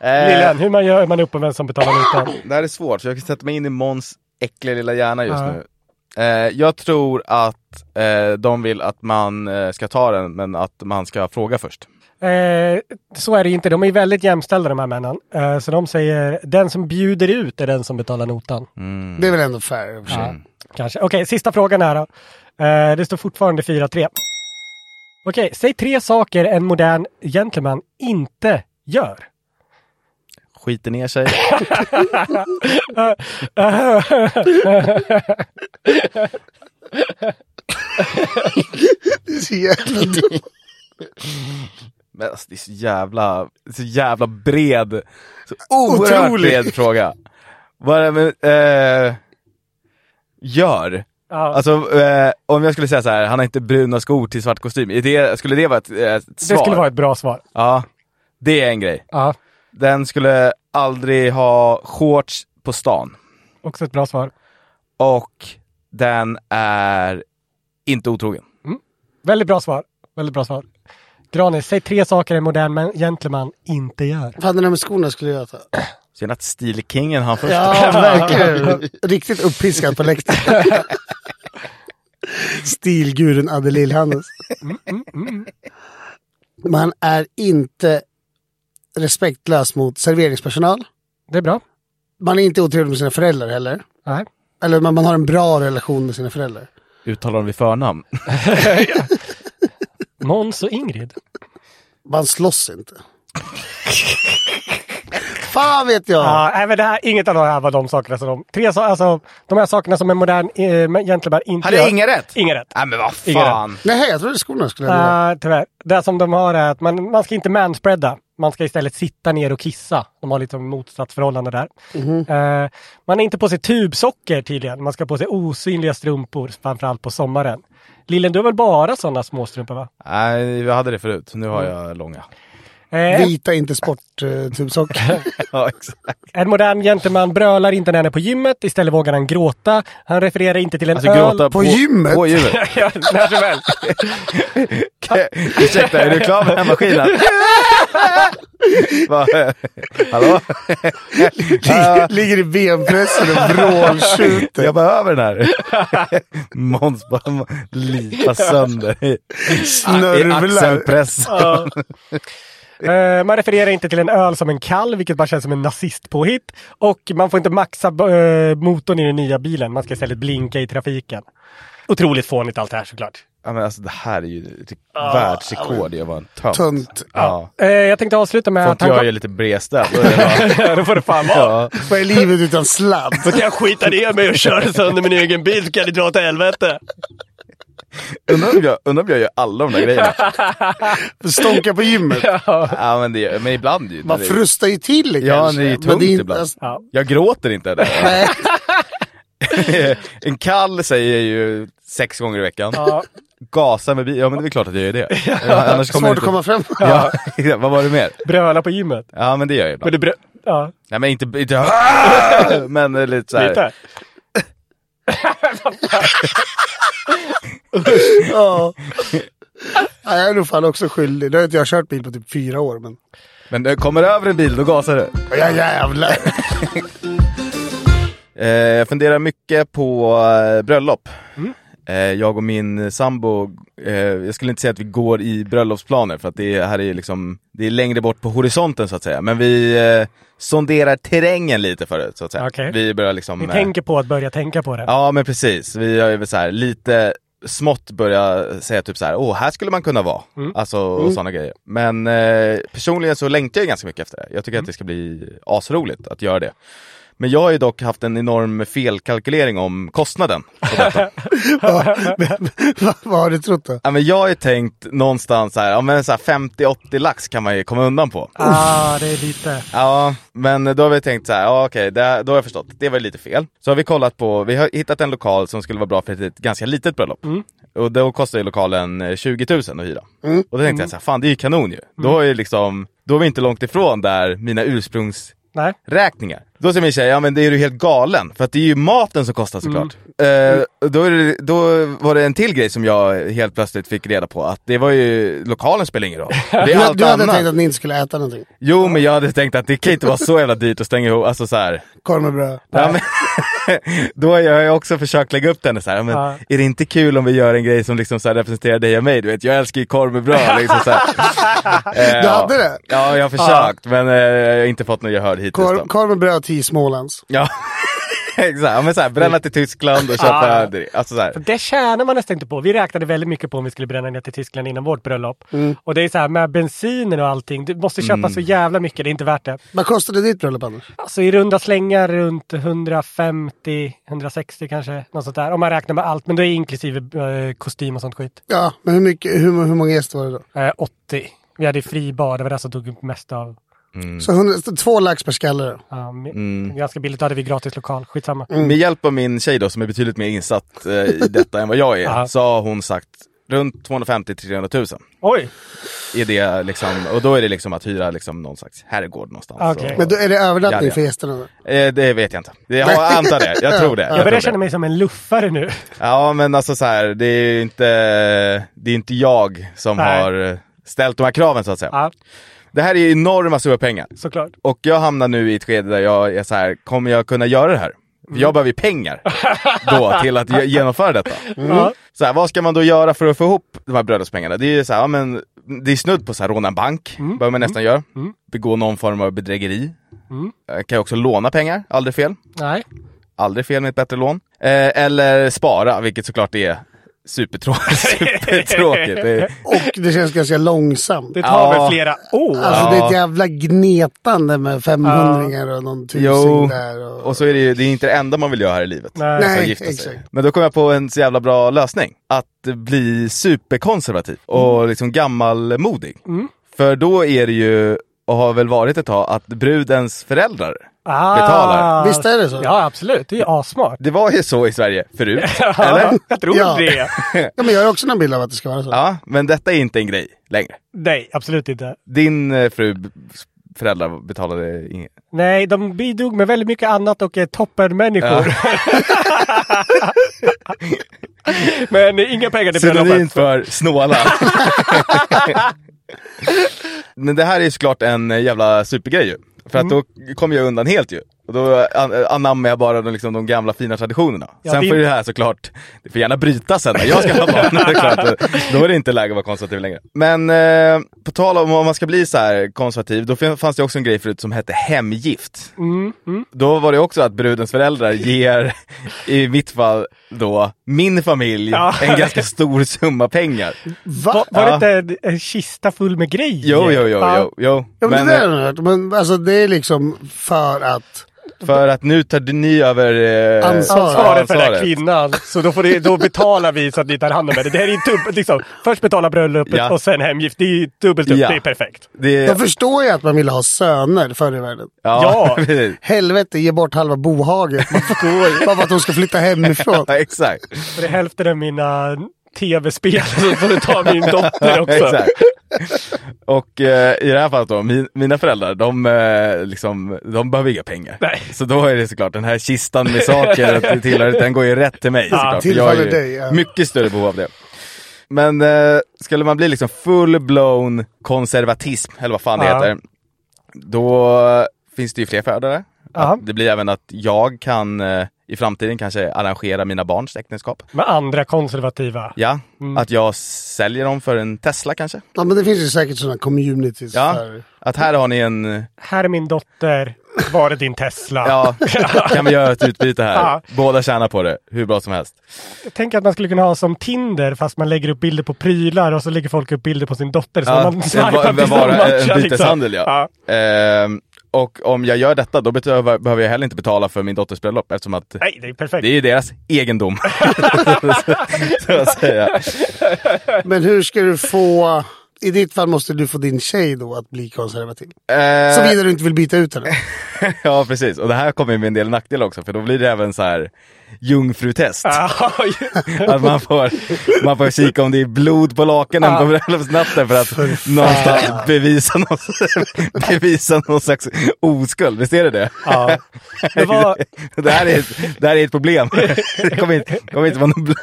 Eh,
Lillen, hur man gör man upp om vem som betalar notan?
det här är svårt, för jag kan sätta mig in i Måns äckliga lilla hjärna just
Ja.
nu. Eh, jag tror att eh, de vill att man eh, ska ta den, men att man ska fråga först.
Eh, så är det ju inte. De är ju väldigt jämställda de här männen. Eh, så de säger den som bjuder ut är den som betalar notan.
Det är väl ändå fair i och för sig.
Kanske. Okej, sista frågan här då. Eh, det står fortfarande 4-3. Okej, säg tre saker en modern gentleman inte gör.
Skiter ner sig.
Det är så jävla dumt.
Men alltså, det är så jävla, så jävla bred, så oerhört
Otroligt.
bred fråga. Vad är det med, eh, gör?
Ja,
Alltså eh, om jag skulle säga så här, han har inte bruna skor till svart kostym, är det, skulle det vara ett, eh, ett svar?
det skulle vara ett bra svar.
Ja, det är en grej.
Ja,
Den skulle aldrig ha shorts på stan.
också ett bra svar.
Och den är inte otrogen.
Väldigt bra svar. Väldigt bra svar. Granis, säg tre saker en modern man- gentleman inte gör.
Fan, den där med skorna skulle jag ta.
Synd att Stilkingen han först.
Ja, verkligen. Riktigt uppiskad på läktaren. Stilguren Adde Lill-Hannes. Man är inte respektlös mot serveringspersonal.
Det är bra.
Man är inte otrevlig med sina föräldrar heller.
Nej.
Eller man, man har en bra relation med sina föräldrar.
Uttalar de vid förnamn?
Måns och Ingrid.
Man slåss inte. Fan vet jag!
Ja, nej, men det här, inget av det här var de sakerna som de... Tre, sa- alltså, de här sakerna som en modern eh, gentleman inte
Hade
gör.
jag inga rätt?
Inga rätt.
Nej men vad
Inga
fan.
Nej, jag trodde skorna skulle ha uh,
Uh, tyvärr. Det som de har är att man, man ska inte manspreada. Man ska istället sitta ner och kissa. De har lite motsatsförhållande där.
Mhm.
Eh, man är inte på sig tubsocker tydligen. Man ska på sig osynliga strumpor, framförallt på sommaren. Lillen, du har väl bara sådana småstrumpor va?
Mm. Nej, jag hade det förut. Nu har jag långa.
Eh,
Vita, inte sporttubsockor.
Ja, exakt.
en modern gentleman brölar inte när han är på gymmet. Istället vågar han gråta. Han refererar inte till en
Alltså
öl.
gråta på,
gymmet?
På gymmet.
Ja, när som helst.
Ursäkta, är du klar med den här maskinen? Va, eh, Hallå? Eh,
Ligger- Ligger i benpressen och vrålskjuter.
Jag behöver den här. Måns bara lipar sönder i- i
Snörvlar.
axelpress.
Ja. Eh, Man refererar inte till en öl som en kall, vilket bara känns som en nazistpåhitt. Och man får inte maxa eh, motorn i den nya bilen. Man ska istället blinka i trafiken. Otroligt fånigt allt det här såklart.
Ja, men alltså, det här är ju ett världsrekord i att vara en tönt.
Ah, Tönt.
Ja.
Eh, Jag tänkte avsluta med
Får
att
inte
han
jag
kom-
är lite bredställd. då är det bara-
Ja, det får det fan vara.
Ja.
Vad är livet utan sladd?
Så kan jag skita ner mig och köra sönder min egen bil så kan det dra åt helvete.
Undrar om, jag, undrar om jag gör alla de där grejerna.
Stånka på gymmet.
Ja, men, det, gör- men ibland ju.
Man frustar ju till kanske.
Ja, det är ju
Men
tungt
det är inte-
ibland.
alltså,
Ja.
Jag gråter inte där.
nej.
en kall säger jag ju sex gånger i veckan.
Ja.
Gasa med bilen. Ja, men det är klart att jag gör det. Annars kommer
Svårt
jag
att komma fram.
Ja, exakt. vad var det mer?
Bröla på gymmet.
Ja, men det gör jag
Men
ibland.
du brö... Ja,
Nej, men inte... inte men eh, lite så här.
lite.
Ja. Ja, jag är nog fan också skyldig. Nu har inte jag kört bil på typ fyra år, men...
Men när jag kommer över en bil, då gasar du.
Ja, jävlar.
Eh, jag funderar mycket på eh, bröllop.
Mm.
Eh, jag och min sambo, eh, jag skulle inte säga att vi går i bröllopsplaner för att det är, här är liksom, det är längre bort på horisonten så att säga. Men vi eh, sonderar terrängen lite förut så att säga.
Okej.
Vi börjar liksom...
Ni
eh,
tänker på att börja tänka på det.
Ja men precis, vi har ju så här, lite smått börjat säga typ så här, åh här skulle man kunna vara. Alltså och sådana grejer. Men eh, personligen så längtar jag ganska mycket efter det. Jag tycker att det ska bli asroligt att göra det. Men jag har ju dock haft en enorm felkalkylering om kostnaden. på detta.
Vad vad har du trott då?
ja, men jag har ju tänkt någonstans så här, ja, men så här 50-80 lax kan man ju komma undan på.
Ah, det är lite...
Ja, men då har vi tänkt så här, ja okej, det, då har jag förstått. Det var lite fel. Så har vi kollat på, vi har hittat en lokal som skulle vara bra för ett ganska litet bröllop.
Mm.
Och då kostar ju lokalen eh, 20 000 att hyra.
Mm.
Och då tänkte jag så här, fan det är ju kanon ju. Då är ju liksom, då är vi inte långt ifrån där mina ursprungsräkningar.
Nej.
Då säger min tjej, ja men det är du helt galen, för att det är ju maten som kostar såklart.
Mm.
Eh, och då, är det, då var det en till grej som jag helt plötsligt fick reda på, att det var ju, lokalen spelar ingen roll. Det är
Du,
allt
du hade
annat.
tänkt att ni inte skulle äta någonting?
Jo, men jag hade tänkt att det kan inte vara så jävla dyrt att stänga ihop, alltså så här.
Korv med bröd.
Ja, men, då har jag ju också försökt lägga upp den så här, men
Ja.
är det inte kul om vi gör en grej som liksom så här representerar dig och mig? Du vet, jag älskar ju korv med bröd. Liksom så här. Eh,
Du hade det?
Ja, jag har försökt, men eh, jag har inte fått något gehör hittills. då.
Korv, korv med bröd till Smålands.
Ja, exakt. Ja, men så här, bränna till Tyskland och köpa, direkt. alltså så här.
För det tjänar man nästan inte på. Vi räknade väldigt mycket på om vi skulle bränna ner till Tyskland innan vårt bröllop. Och det är så här med bensinen och allting. Du måste köpa så jävla mycket. Det är inte värt det.
Vad kostade ditt bröllop Anders?
Alltså i runda slängar runt 150-160 kanske. Något sånt där. Om man räknar med allt. Men det är inklusive eh, kostym och sånt skit.
Ja, men hur, mycket, hur, hur många gäster var det då?
Eh, 80. Vi hade fri bar. Det var det som tog upp mest av.
Mm.
Så 100, så två lax per skalle då?
ja, mi- Ganska billigt. Då hade vi gratis lokal. Skitsamma.
Med hjälp av min tjej då, som är betydligt mer insatt eh, i detta än vad jag är,
Ja.
så har hon sagt runt 250-300 000.
Oj!
är det liksom, och då är det liksom att hyra liksom någon slags herrgård någonstans.
Okej.
Och,
Men då, är det övernattning
Ja, det är.
för gästerna? Då?
eh, det vet jag inte. Det- Jag antar det, jag tror det.
Ja,
Jag
tror
börjar
det.
känna mig som en luffare nu.
Ja men alltså så här, det är ju inte, det är inte jag som
Nej.
har ställt de här kraven så att säga.
Ja,
Det här är ju enorma summa pengar.
såklart.
Och jag hamnar nu i ett skede där jag är så här, kommer jag kunna göra det här? För
Mm.
Jag behöver ju pengar då till att ge- genomföra detta.
Ja.
Så här, vad ska man då göra för att få ihop de här bröllopspengarna? Det är ju så här, ja, men det är snudd på så här, råna en bank, bör man nästan göra. Begå någon form av bedrägeri. Eh, Kan ju också låna pengar, aldrig fel.
Nej.
Aldrig fel med ett bättre lån. Eh, eller spara, vilket såklart är supertråkigt. supertråkigt. Det är,
Och det känns ganska långsamt.
Det tar
Ja.
väl flera år?
Alltså det är ett jävla gnetande med 500 och någon tusing
jo,
där. Och...
och så är det ju, det är inte det enda man vill göra här i livet.
Nej.
Alltså,
Nej,
gifta sig.
exakt.
Men då kom jag på en så jävla bra lösning. Att
Mm.
bli superkonservativ och liksom gammalmodig. För då är det ju och har väl varit ett tag, att brudens föräldrar
Ah,
betalar.
Visst är det så?
Ja, absolut. Det är ju assmart.
Det var ju så i Sverige förut,
Ja,
eller?
Jag tror
Ja.
det.
Ja, men jag har också någon bild av att det ska vara så.
Ja, men detta är inte en grej längre.
Nej, absolut inte.
Din eh, fru föräldrar betalade inget.
Nej, de bidrog med väldigt mycket annat och är toppenmänniskor. Men inga pengar till
Synonym
bröllopet.
för snåla. Men det här är ju såklart en eh, jävla supergrej ju. För att
Mm.
då kommer jag undan helt ju. Och då eh, an- anammar jag bara de, liksom, de gamla fina traditionerna.
Ja,
sen
det-
får ju det här såklart, det får gärna brytas sen när jag ska ha barn. det är klart. eh, Då är det inte läge att vara konservativ längre. Men eh, på tal om om man ska bli så här konservativ, då fin- fanns det också en grej förut som hette hemgift. Då var det också att brudens föräldrar ger, i mitt fall då, min familj
Ja.
en ganska stor summa pengar.
Va?
Var, var
Ja.
det inte en- en kista full med grejer?
Jo, jo, jo,
Ja.
jo, jo.
Ja, men,
Men
det där
eh,
har jag hört. Men alltså det är liksom för att...
eh, för att nu tar ni över eh,
Ansvaret.
Ansvaret för den här
ansvaret.
kvinnan. Så då, får det, då betalar vi så att ni tar hand om henne. Det här är ju dubbelt liksom. Först betala bröllopet
Ja.
och sen hemgift. Det är ju dubbelt upp.
Ja.
Det är perfekt.
Det,
Jag förstår ju att man ville ha söner förr i världen.
ja,
Ja.
precis.
Helvete, ge bort halva bohaget. Bara för- Bara för att de ska flytta hemifrån.
ja, exakt.
För det är hälften av mina tv-spel. Så får du ta min dotter
Ja,
också.
exakt. Och eh, i det här fallet då, min, mina föräldrar, de, eh, liksom, de behöver inga pengar.
Nej.
Så då är det såklart, den här kistan med saker, att det tillhör, den går ju rätt till mig. såklart. För
tillfaller
jag har ju
dig, ja.
Mycket större behov av det. Men eh, skulle man bli liksom full-blown konservatism, eller vad fan det
Ja.
heter, då finns det ju fler föräldrar.
Ja.
Att Det blir även att jag kan eh, i framtiden kanske arrangera mina barns äktenskap.
Med andra konservativa.
Ja,
Mm.
att jag säljer dem för en Tesla kanske.
Ja, men det finns ju säkert sådana communities
Ja,
för...
att här har ni en...
Här är min dotter. Var är din Tesla?
Ja, kan vi göra ett utbyte här?
Ja.
Båda tjänar på det, hur bra som helst.
Tänk att man skulle kunna ha som Tinder fast man lägger upp bilder på prylar och så lägger folk upp bilder på sin dotter. Så
Ja,
man
en-
swipar
en-
tills man
bara en
matchar,
byteshandel, ja.
ja.
Ehm, och om jag gör detta, då behöver, behöver jag heller inte betala för min dotters bröllop eftersom att
Nej, det är perfekt.
det är ju deras egendom. så att säga.
Men hur ska du få... I ditt fall måste du få din tjej då att bli konservativ.
Ehm,
Såvida du inte vill byta ut henne.
Eh, ja, precis. Och det här kommer ju med en del nackdelar också, för då blir det även så här jungfrutest.
Ja, ju-
Att man får, man får kika om det är blod på lakanen på bröllopsnatten för att någonstans bevisa någon, bevisa någon slags oskuld. Visst är det det?
ja. Det var,
Det här är, ett- det här är ett problem. Det kommer inte, kommer inte, vara, någon blod,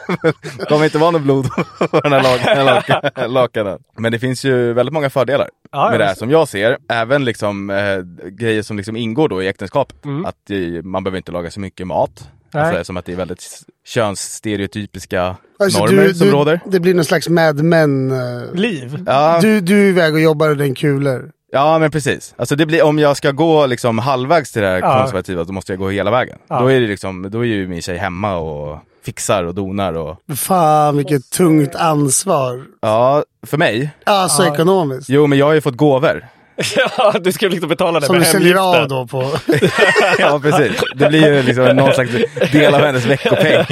kommer inte vara någon blod på den här lakan- lakan- lakanen. Men det finns ju väldigt många fördelar
Ja, ja,
med det här
visst.
som jag ser. Även liksom, eh, grejer som liksom ingår då i äktenskapet. Att eh, man behöver inte laga så mycket mat.
Mm. Nej.
Alltså, som att det är väldigt s- könsstereotypiska
Alltså,
normer
du,
som
du,
råder.
Det blir någon slags Mad Men... eh,
liv.
Ja,
Du, du är iväg och jobbar och den kulor.
ja, men precis. Alltså det blir, om jag ska gå liksom halvvägs till det här
Ja.
konservativa, då måste jag gå hela vägen.
Ja.
Då, är det liksom, då är ju min tjej hemma och fixar och donar och
Fan vilket tungt ansvar.
Ja, för mig?
Alltså ekonomiskt.
Jo, men jag har ju fått gåvor.
Ja, du skulle liksom betala det
Som du
med
säljer av
hemgiften.
då på...
Ja, precis. Det blir ju liksom någon slags del av hennes veckopeng.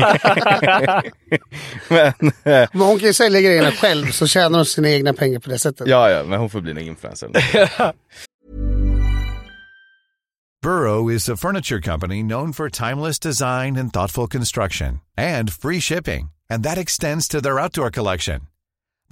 men, eh,
Men hon kan ju sälja grejerna själv så tjänar hon sina egna pengar på det sättet.
ja, ja, men hon får bli en influencer.
Burrow is a furniture company known for timeless design and thoughtful construction and free shipping, and that extends to their outdoor collection.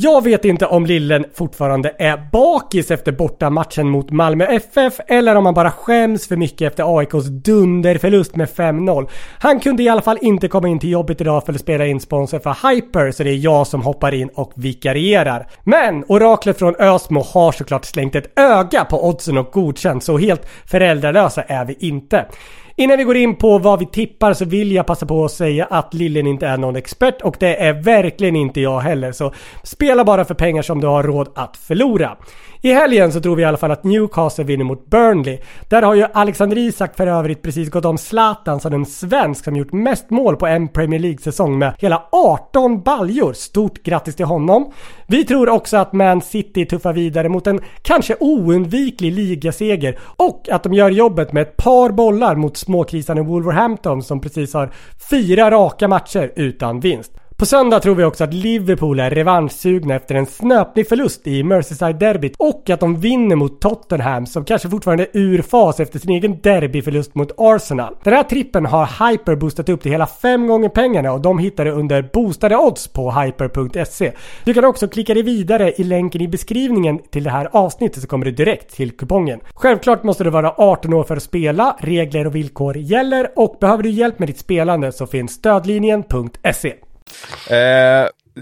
Jag vet inte om Lillen fortfarande är bakis efter bortamatchen mot Malmö FF eller om han bara skäms för mycket efter AIKs dunderförlust med 5-0. Han kunde i alla fall inte komma in till jobbet idag för att spela in sponsor för Hyper så det är jag som hoppar in och vikarierar. Men oraklet från Ösmo har såklart slängt ett öga på oddsen och godkänt så helt föräldralösa är vi inte. Innan vi går in på vad vi tippar så vill jag passa på att säga att Lillen inte är någon expert och det är verkligen inte jag heller. Så spela bara för pengar som du har råd att förlora. I helgen så tror vi i alla fall att Newcastle vinner mot Burnley. Där har ju Alexander Isak för övrigt precis gått om Zlatan som den svensk som gjort mest mål på en Premier League-säsong med hela 18 baljor. Stort grattis till honom. Vi tror också att Man City tuffar vidare mot en kanske oundviklig ligaseger och att de gör jobbet med ett par bollar mot småkrisarna Wolverhampton som precis har fyra raka matcher utan vinst. På söndag tror vi också att Liverpool är revanschsugna efter en snöplig förlust i Merseyside-derbyt och att de vinner mot Tottenham som kanske fortfarande är ur fas efter sin egen derbyförlust mot Arsenal. Den här trippen har Hyper boostat upp till hela fem gånger pengarna och de hittar du under boostade odds på hyper.se. Du kan också klicka dig vidare i länken i beskrivningen till det här avsnittet så kommer du direkt till kupongen. Självklart måste du vara 18 år för att spela, regler och villkor gäller och behöver du hjälp med ditt spelande så finns stödlinjen.se.
Eh,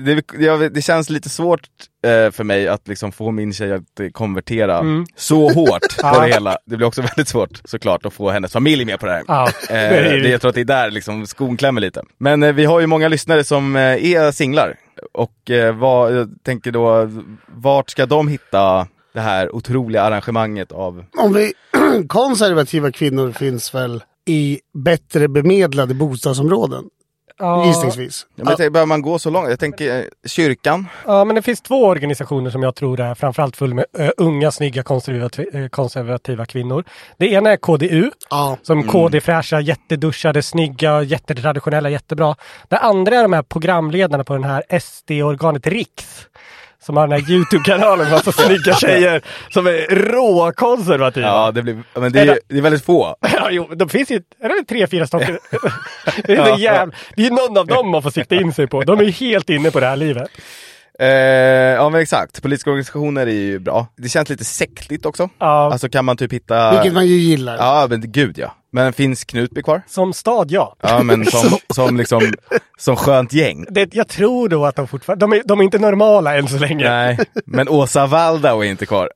det, jag, det känns lite svårt eh, för mig att liksom få min tjej att eh, konvertera
Mm.
så hårt på det hela. Det blir också väldigt svårt såklart att få hennes familj med på det här.
Ja, det
Eh,
är ju-
det, jag tror att det är där liksom, skon klämmer lite. Men eh, vi har ju många lyssnare som eh, är singlar. Och eh, vad, jag tänker då, vart ska de hitta det här otroliga arrangemanget av...
Om vi konservativa kvinnor finns väl i bättre bemedlade bostadsområden, gissningsvis.
Ja, men jag tänker, behöver man gå så långt? Jag tänker eh, kyrkan.
Ja, men det finns två organisationer som jag tror är framförallt full med eh, unga, snygga, konservativa, eh, konservativa kvinnor. Det ena är KDU,
Ja.
som KD-fräscha, jätteduschade, snygga, jättetraditionella, jättebra. Det andra är de här programledarna på den här SD-organet Riks. Som har den här YouTube-kanalen med massa snygga tjejer som är råkonservativa.
Ja, det, blir, ja, men det, är, det är väldigt få.
Ja, jo, de finns ju, är det väl tre, fyra stycken? det är så jävla, det är ju någon av dem man får sikta in sig på. De är ju helt inne på det här livet.
Eh, ja men exakt, politiska organisationer är ju bra. Det känns lite sektigt också.
Ja.
Alltså kan man typ hitta...
Vilket man ju gillar.
Ja men gud ja. Men finns Knutby kvar?
Som stad, ja.
Ja men som, som liksom, som skönt gäng.
Det, jag tror då att de fortfarande... De är, de är inte normala än så länge.
Nej, men Åsa Waldau är inte kvar.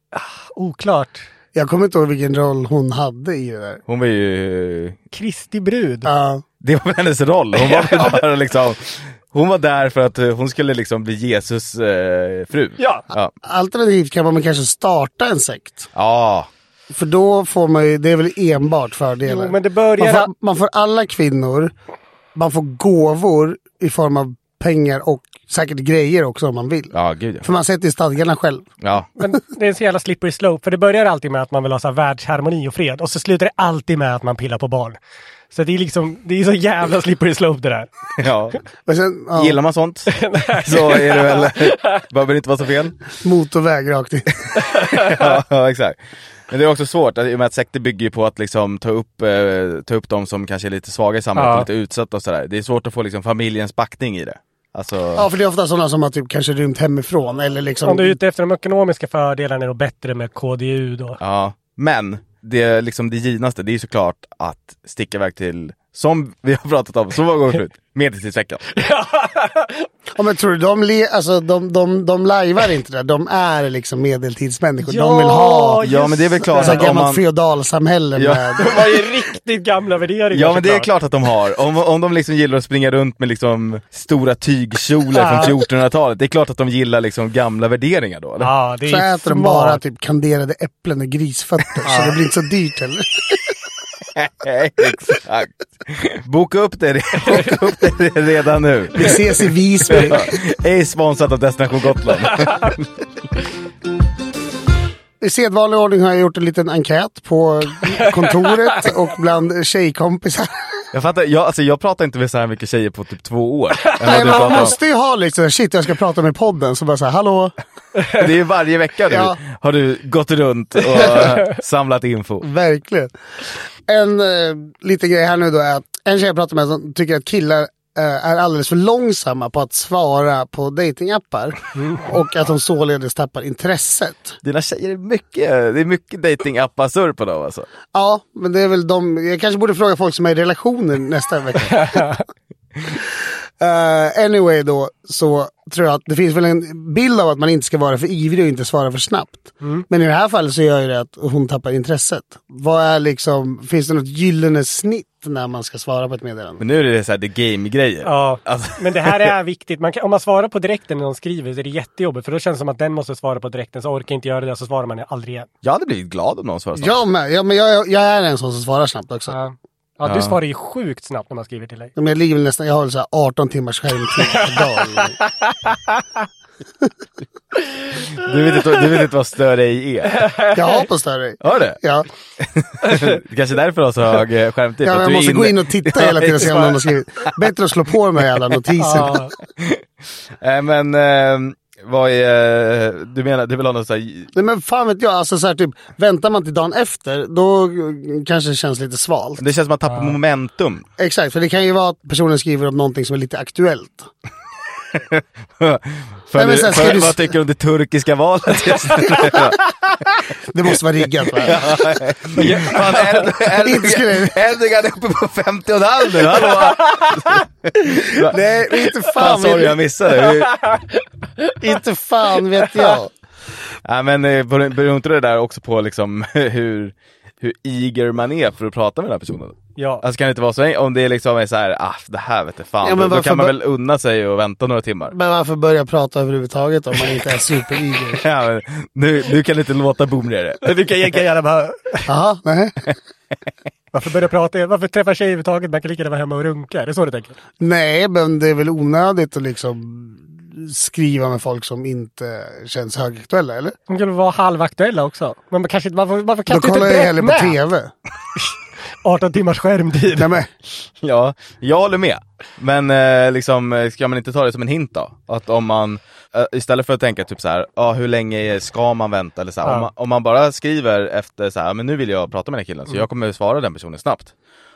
Oklart.
Jag kommer inte ihåg vilken roll hon hade i det där.
Hon var ju...
Kristi brud.
Ja.
Det var väl hennes roll. Hon var väl bara liksom... Hon var där för att eh, hon skulle liksom bli Jesus eh, fru.
Ja.
Ja.
Alternativt kan man kanske starta en sekt.
Ja.
För då får man ju, det är väl enbart fördelar.
Jo, men det börjar-
man, får, man får alla kvinnor, man får gåvor i form av pengar och säkert grejer också om man vill.
Ja, gud
För
ja.
man sätter ju stadgarna själv.
ja.
Men det är en så jävla slippery slope. För det börjar alltid med att man vill ha så här världsharmoni och fred. Och så slutar det alltid med att man pillar på barn. Så det är liksom... Det är så jävla slippery slope det där.
ja.
Och sen, ja,
Gillar man sånt så är det väl... Behöver det inte vara så fel.
Motorväg rakt in.
ja, ja, exakt. Men det är också svårt, att- i och med att sekter bygger ju på att liksom ta upp, eh, ta upp de som kanske är lite svaga i samhället,
Ja.
och lite utsatta och sådär. Det är svårt att få liksom, familjens backning i det. Alltså,
Ja, för det är ofta sådana som har typ kanske rymt hemifrån eller liksom...
Om du är ute efter de ekonomiska fördelarna är det bättre med KDU då.
ja. Men det, är liksom, det givnaste, det är ju såklart att sticka iväg till, som vi har pratat om så många gånger förut, medeltidsveckan.
Ja, men tror du de, le, alltså, de, de, de lajvar inte det? De är liksom medeltidsmänniskor.
Ja,
de vill ha
Ja men det är väl klart
ett
Alltså,
sånt
att om
gammalt
man...
feodalsamhälle
Ja.
med...
Det var ju riktigt gamla värderingar
Ja men det är
såklart.
klart att de har. Om, om de liksom gillar att springa runt med liksom stora tygkjolar från 1400-talet, det är klart att de gillar liksom gamla värderingar då. Eller?
Ja, det är
Så äter de
smart.
bara typ kanderade äpplen och grisfötter så det blir inte så dyrt heller.
Exakt. Äh, Boka upp det, boka upp det redan nu.
Vi ses i Visby.
Ej sponsrat av Destination Gotland.
I sedvanlig ordning har jag gjort en liten enkät på kontoret och bland tjejkompisar.
Jag fattar, jag, alltså, jag pratar inte med så här mycket tjejer på typ två år. än vad
Nej,
du
men man
pratar om.
måste ju ha liksom, shit jag ska prata med podden. Så bara så här, hallå,
Det är ju varje vecka nu
Ja.
har du gått runt och eh, samlat info.
verkligen. En eh, liten grej här nu då är att en tjej jag pratar med som tycker att killar eh, är alldeles för långsamma på att svara på datingappar
Mm.
och att de således tappar intresset.
Dina tjejer är mycket, det är mycket datingappar på dem alltså.
Ja, men det är väl de. Jag kanske borde fråga folk som är i relationer nästa vecka. Eh, anyway då, så tror jag att det finns väl en bild av att man inte ska vara för ivrig och inte svara för snabbt. Men i det här fallet så gör ju det att hon tappar intresset. Vad är liksom, finns det något gyllene snitt när man ska svara på ett meddelande?
Men nu är det så här, det är game-grejer.
Ja,
Alltså-
men det här är viktigt. Man kan, om man svarar på direkten när de skriver så är det jättejobbigt för då känns det som att den måste svara på direkten så orkar inte göra det så svarar man aldrig igen.
Jag hade blivit glad om någon svarade
Jag med, ja, men jag, jag är en sån som svarar snabbt också.
Ja. Ja, du
Ja.
svarar ju sjukt snabbt när man skriver till dig.
Men jag ligger väl nästan, jag har väl så här 18 timmars skärmtid per dag.
Du vet inte, du vet inte vad större i är.
Jag har på större.
Har du?
Ja,
Det kanske är därför du har så hög eh, skärmtid.
ja
för att
jag
du är
måste gå in och titta hela tiden och se om
exakt.
någon har skrivit. Bättre att slå på de här jävla notiserna.
Ja.
Eh, men eh, vad är, eh, du menar, du vill ha någon så här,
Nej men fan vet jag, alltså så här, typ, väntar man till dagen efter då eh, kanske det känns lite svalt.
det känns som att man tappar momentum.
Exakt, för det kan ju vara att personen skriver om någonting som är lite aktuellt.
Följer,
men sen ska
följer,
du-
Vad tycker du om det turkiska valet just nu?
Det måste vara riggat va?
Fan, Erd-
Inte
Erdogan
skulle-
Erdogan är uppe på 50 och en halv nu, hallå!
Nej, inte
Fan,
fan,
sorry jag
vet,
missade. Vi-
inte fan vet jag.
Nej men eh, beror beror inte det där också på liksom hur, hur eager man är för att prata med den här personen?
Ja.
Alltså kan det inte vara så, om det liksom är så här, ah det här vet jag fan,
Ja, men
då, då
varför
kan man
bör-
väl unna sig och vänta några timmar.
Men varför börja prata överhuvudtaget om man inte är supereager?
Ja, men, nu, nu kan du inte låta boomigare.
Du kan, jag kan gärna bara,
Jaha, nej.
varför börja prata, varför träffa tjejer överhuvudtaget? Man kan lika gärna vara hemma och runka, är det så du tänker?
Nej, men det är väl onödigt att liksom skriva med folk som inte känns högaktuella, eller?
De kan väl vara halvaktuella också? Men man kanske inte, varför, varför
Då
kastar du
kollar
inte
jag
direkt
hellre på
med?
tv.
18 timmars skärmtid.
Nej, men,
Ja, jag håller med. Men eh, liksom, eh, ska man inte ta det som en hint då? Att om man, eh, istället för att tänka typ så här, ah, hur länge ska man vänta? Eller så här,
Ja.
om, man, om man bara skriver efter så här, "Ah, men nu vill jag prata med den här killen, så jag kommer svara den personen snabbt.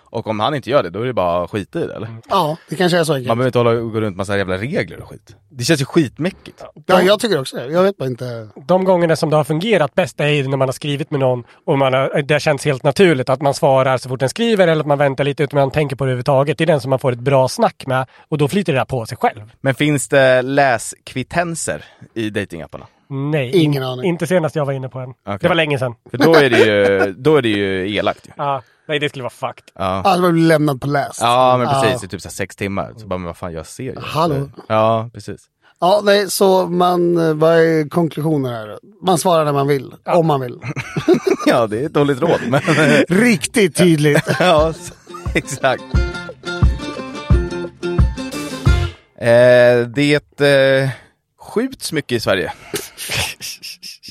Och om han inte gör det, då är det bara att skita i det eller?
ja, det kanske är så
Man
enkelt.
behöver inte hålla och gå runt massa jävla regler och skit. Det känns ju skitmäckigt.
Ja, jag tycker också det. Jag vet bara inte.
De gångerna som det har fungerat bäst är ju när man har skrivit med någon och man har, det har känts helt naturligt att man svarar så fort den skriver eller att man väntar lite utan att man tänker på det överhuvudtaget. Det är den som man får ett bra snack med och då flyter det där på sig själv.
Men finns det läskvittenser i datingapparna?
Nej,
Ingen aning.
inte senast jag var inne på en.
Okej.
Det var länge sedan.
För då är det ju, då är det ju elakt ju.
Ja, nej, det skulle vara fucked.
Ja.
Alla blir Alltså, lämnad på läst.
Ja men precis,
Ja,
i typ så här sex timmar. Så bara, men vad fan jag ser ju.
Hallå?
Ja precis.
ja nej, så man, eh, vad är konklusionen här? då? Man svarar när man vill, om man vill.
Ja det är ett dåligt råd men
Riktigt tydligt.
ja så- exakt. Eh, det eh, skjuts mycket i Sverige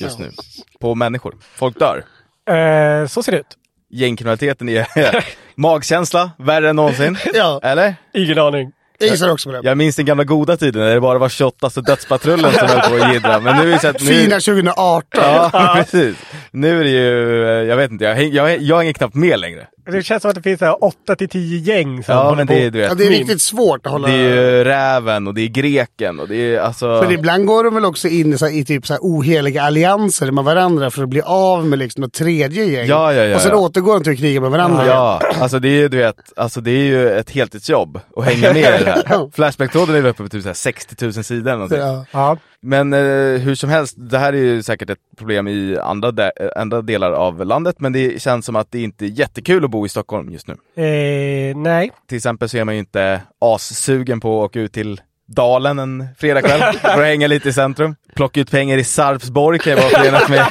just nu på människor. Folk dör.
Eh, så ser det ut.
Gängkriminaliteten är magkänsla, värre än någonsin.
Ja,
Eller?
Ingen aning.
jag gissar också på det.
Jag minns den gamla goda tiden när det bara var 28 patrullen som höll på att jiddra. Men nu är det så att nu...
Fina 2018.
Ja, precis. Nu är det ju, eh, jag vet inte, jag, häng- jag, jag hänger knappt med längre.
Det känns som att det finns 8-10 gäng som
Ja,
håller
men
på.
det Mm. är, du vet,
Ja, det är
min-
riktigt svårt att hålla...
det är ju räven och det är greken och det är alltså...
Men ibland går de väl också in i, så här, i typ så här oheliga allianser med varandra för att bli av med liksom ett tredje gäng.
Ja, ja, ja,
och sen
ja.
återgår de till att kriga med varandra.
Ja, alltså det är ju du vet, alltså det är ju ett heltidsjobb att hänga med i det här.
Ja.
Flashback-tråden är väl uppe på typ så här 60 000 sidor eller någonting.
Ja.
Ja.
Men eh, hur som helst, det här är ju säkert ett problem i andra, de- eh, andra delar av landet, men det känns som att det inte är jättekul att bo i Stockholm just nu.
Eh, nej.
Till exempel så är man ju inte assugen på att åka ut till Dalen en fredagkväll för att hänga lite i centrum. Plocka ut pengar i Sarpsborg kan ju vara förenat med,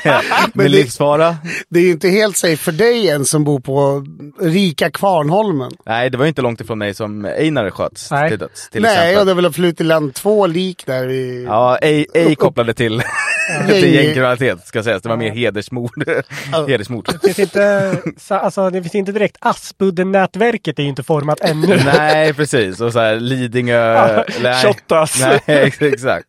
med livsfara.
Det är ju inte helt safe för dig än som bor på rika Kvarnholmen.
Nej, det var ju inte långt ifrån mig som Einar sköts
Nej.
till döds till
Nej, och
exempel.
det har väl flutit i land två lik där i
Ja, ej, ej kopplade till, till
Gäng-
gängkriminalitet ska sägas. Det var mer hedersmord. hedersmord.
Det finns inte, så- alltså, det finns inte direkt Aspudden-nätverket är ju inte format ännu.
Nej, precis. Och så här Lidingö... nej.
Shottaz.
Nej, ex- exakt.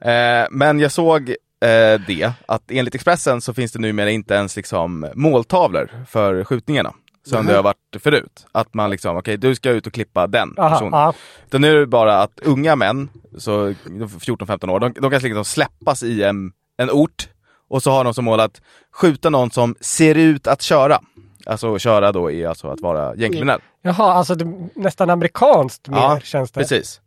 Eh, men jag såg eh, det, att enligt Expressen så finns det numera inte ens liksom måltavlor för skjutningarna. som det har varit förut. Att man liksom, okej du ska ut och klippa den
Aha,
personen.
ja.
Utan nu är det bara att unga män, så 14-15 år, de, de kan liksom släppas i en, en ort och så har de som mål att skjuta någon som ser ut att köra. Alltså köra då är alltså att vara gängkriminell.
Jaha, alltså det, nästan amerikanskt mer känns det.
Precis.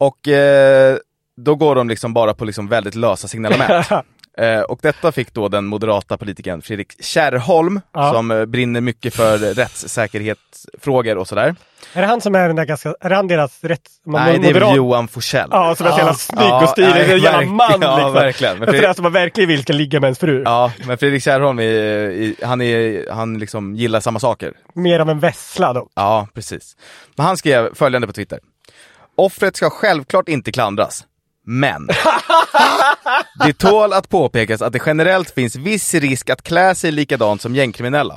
Och eh, då går de liksom bara på liksom väldigt lösa signalement. Eh, och detta fick då den moderata politikern Fredrik Kärrholm,
Ja.
som eh, brinner mycket för rättssäkerhetsfrågor och sådär.
Är det han som är den där ganska, är han deras rätt... man-
Nej, det är
moderat-
Johan Forsell.
Ja, som är så jävla snygg och stilig.
nej,
det är en jävla
verk-
man liksom.
Ja, verkligen. Men
Jag tror
Fredrik,
att man verkligen vill ska ligga med ens fru.
ja, men Fredrik Kärrholm, är, i- han, är, han liksom gillar samma saker.
Mer av en vessla då.
Ja, precis. Men han skrev följande på Twitter. Offret ska självklart inte klandras, men det tål att påpekas att det generellt finns viss risk att klä sig likadant som gängkriminella.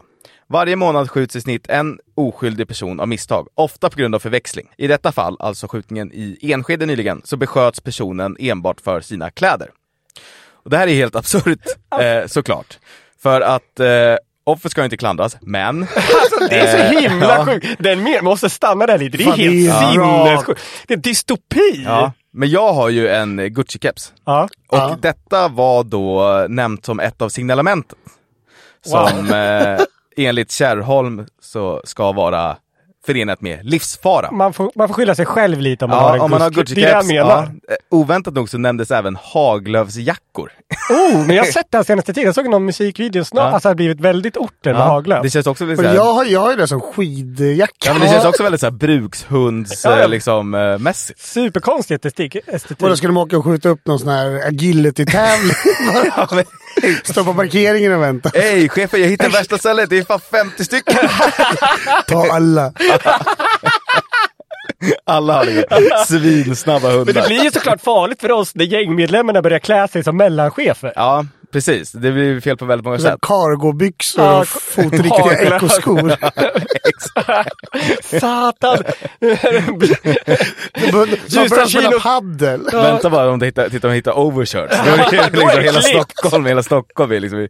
Varje månad skjuts i snitt en oskyldig person av misstag, ofta på grund av förväxling. I detta fall, alltså skjutningen i Enskede nyligen, så besköts personen enbart för sina kläder. Och det här är helt absurt, eh, såklart. För att eh, offret ska inte klandras, men
Det är så
Eh,
himla
ja.
sjukt! Den mer, måste stanna där lite. Det är
Fan,
helt
det är bra.
sinnessjukt. Det är en dystopi!
Ja, men jag har ju en eh, Gucci-keps.
Ja.
Och
Ja.
detta var då eh, nämnt som ett av signalementen. Som eh, enligt Kärrholm så ska vara förenat med livsfara.
Man, får, man får skylla sig själv lite om man har
Ja,
en
om man har
Gucci. Det Mm. är det jag
Gucci-keps. Ja.
menar.
Eh, Oväntat nog så nämndes även Haglöfsjackor.
Oh, men jag har sett det här senaste tiden. Jag såg någon musikvideo snart.
Ja.
Alltså det har blivit väldigt orten med Haglöf.
Det känns också lite
Och
såhär,
jag
ja,
har, jag har ju det som skidjacka.
men det känns också väldigt såhär brukshunds,
Ja, ja.
eh, liksom, eh, mässigt.
Superkonstig estetik. estetik.
Och då skulle de åka och skjuta upp någon sån här agility-tävling. Stå på parkeringen och vänta.
Hej chefen, jag hittade värsta stället, det är fan 50 stycken!
Ta alla.
Alla har liksom svinsnabba hundar.
Men det blir ju såklart farligt för oss när gängmedlemmarna börjar klä sig som mellanchefer.
Ja, precis. Det blir fel på väldigt många
Så här
sätt.
Cargobyxor
Ja,
och fotriktiga
haglar.
ekoskor.
Satan!
Man börjar spela
kilo.
padel.
Vänta bara om de hittar, titta om de hittar overshirts. Då är det
Då är
liksom
det
hela
klippt.
Stockholm, hela Stockholm är liksom i-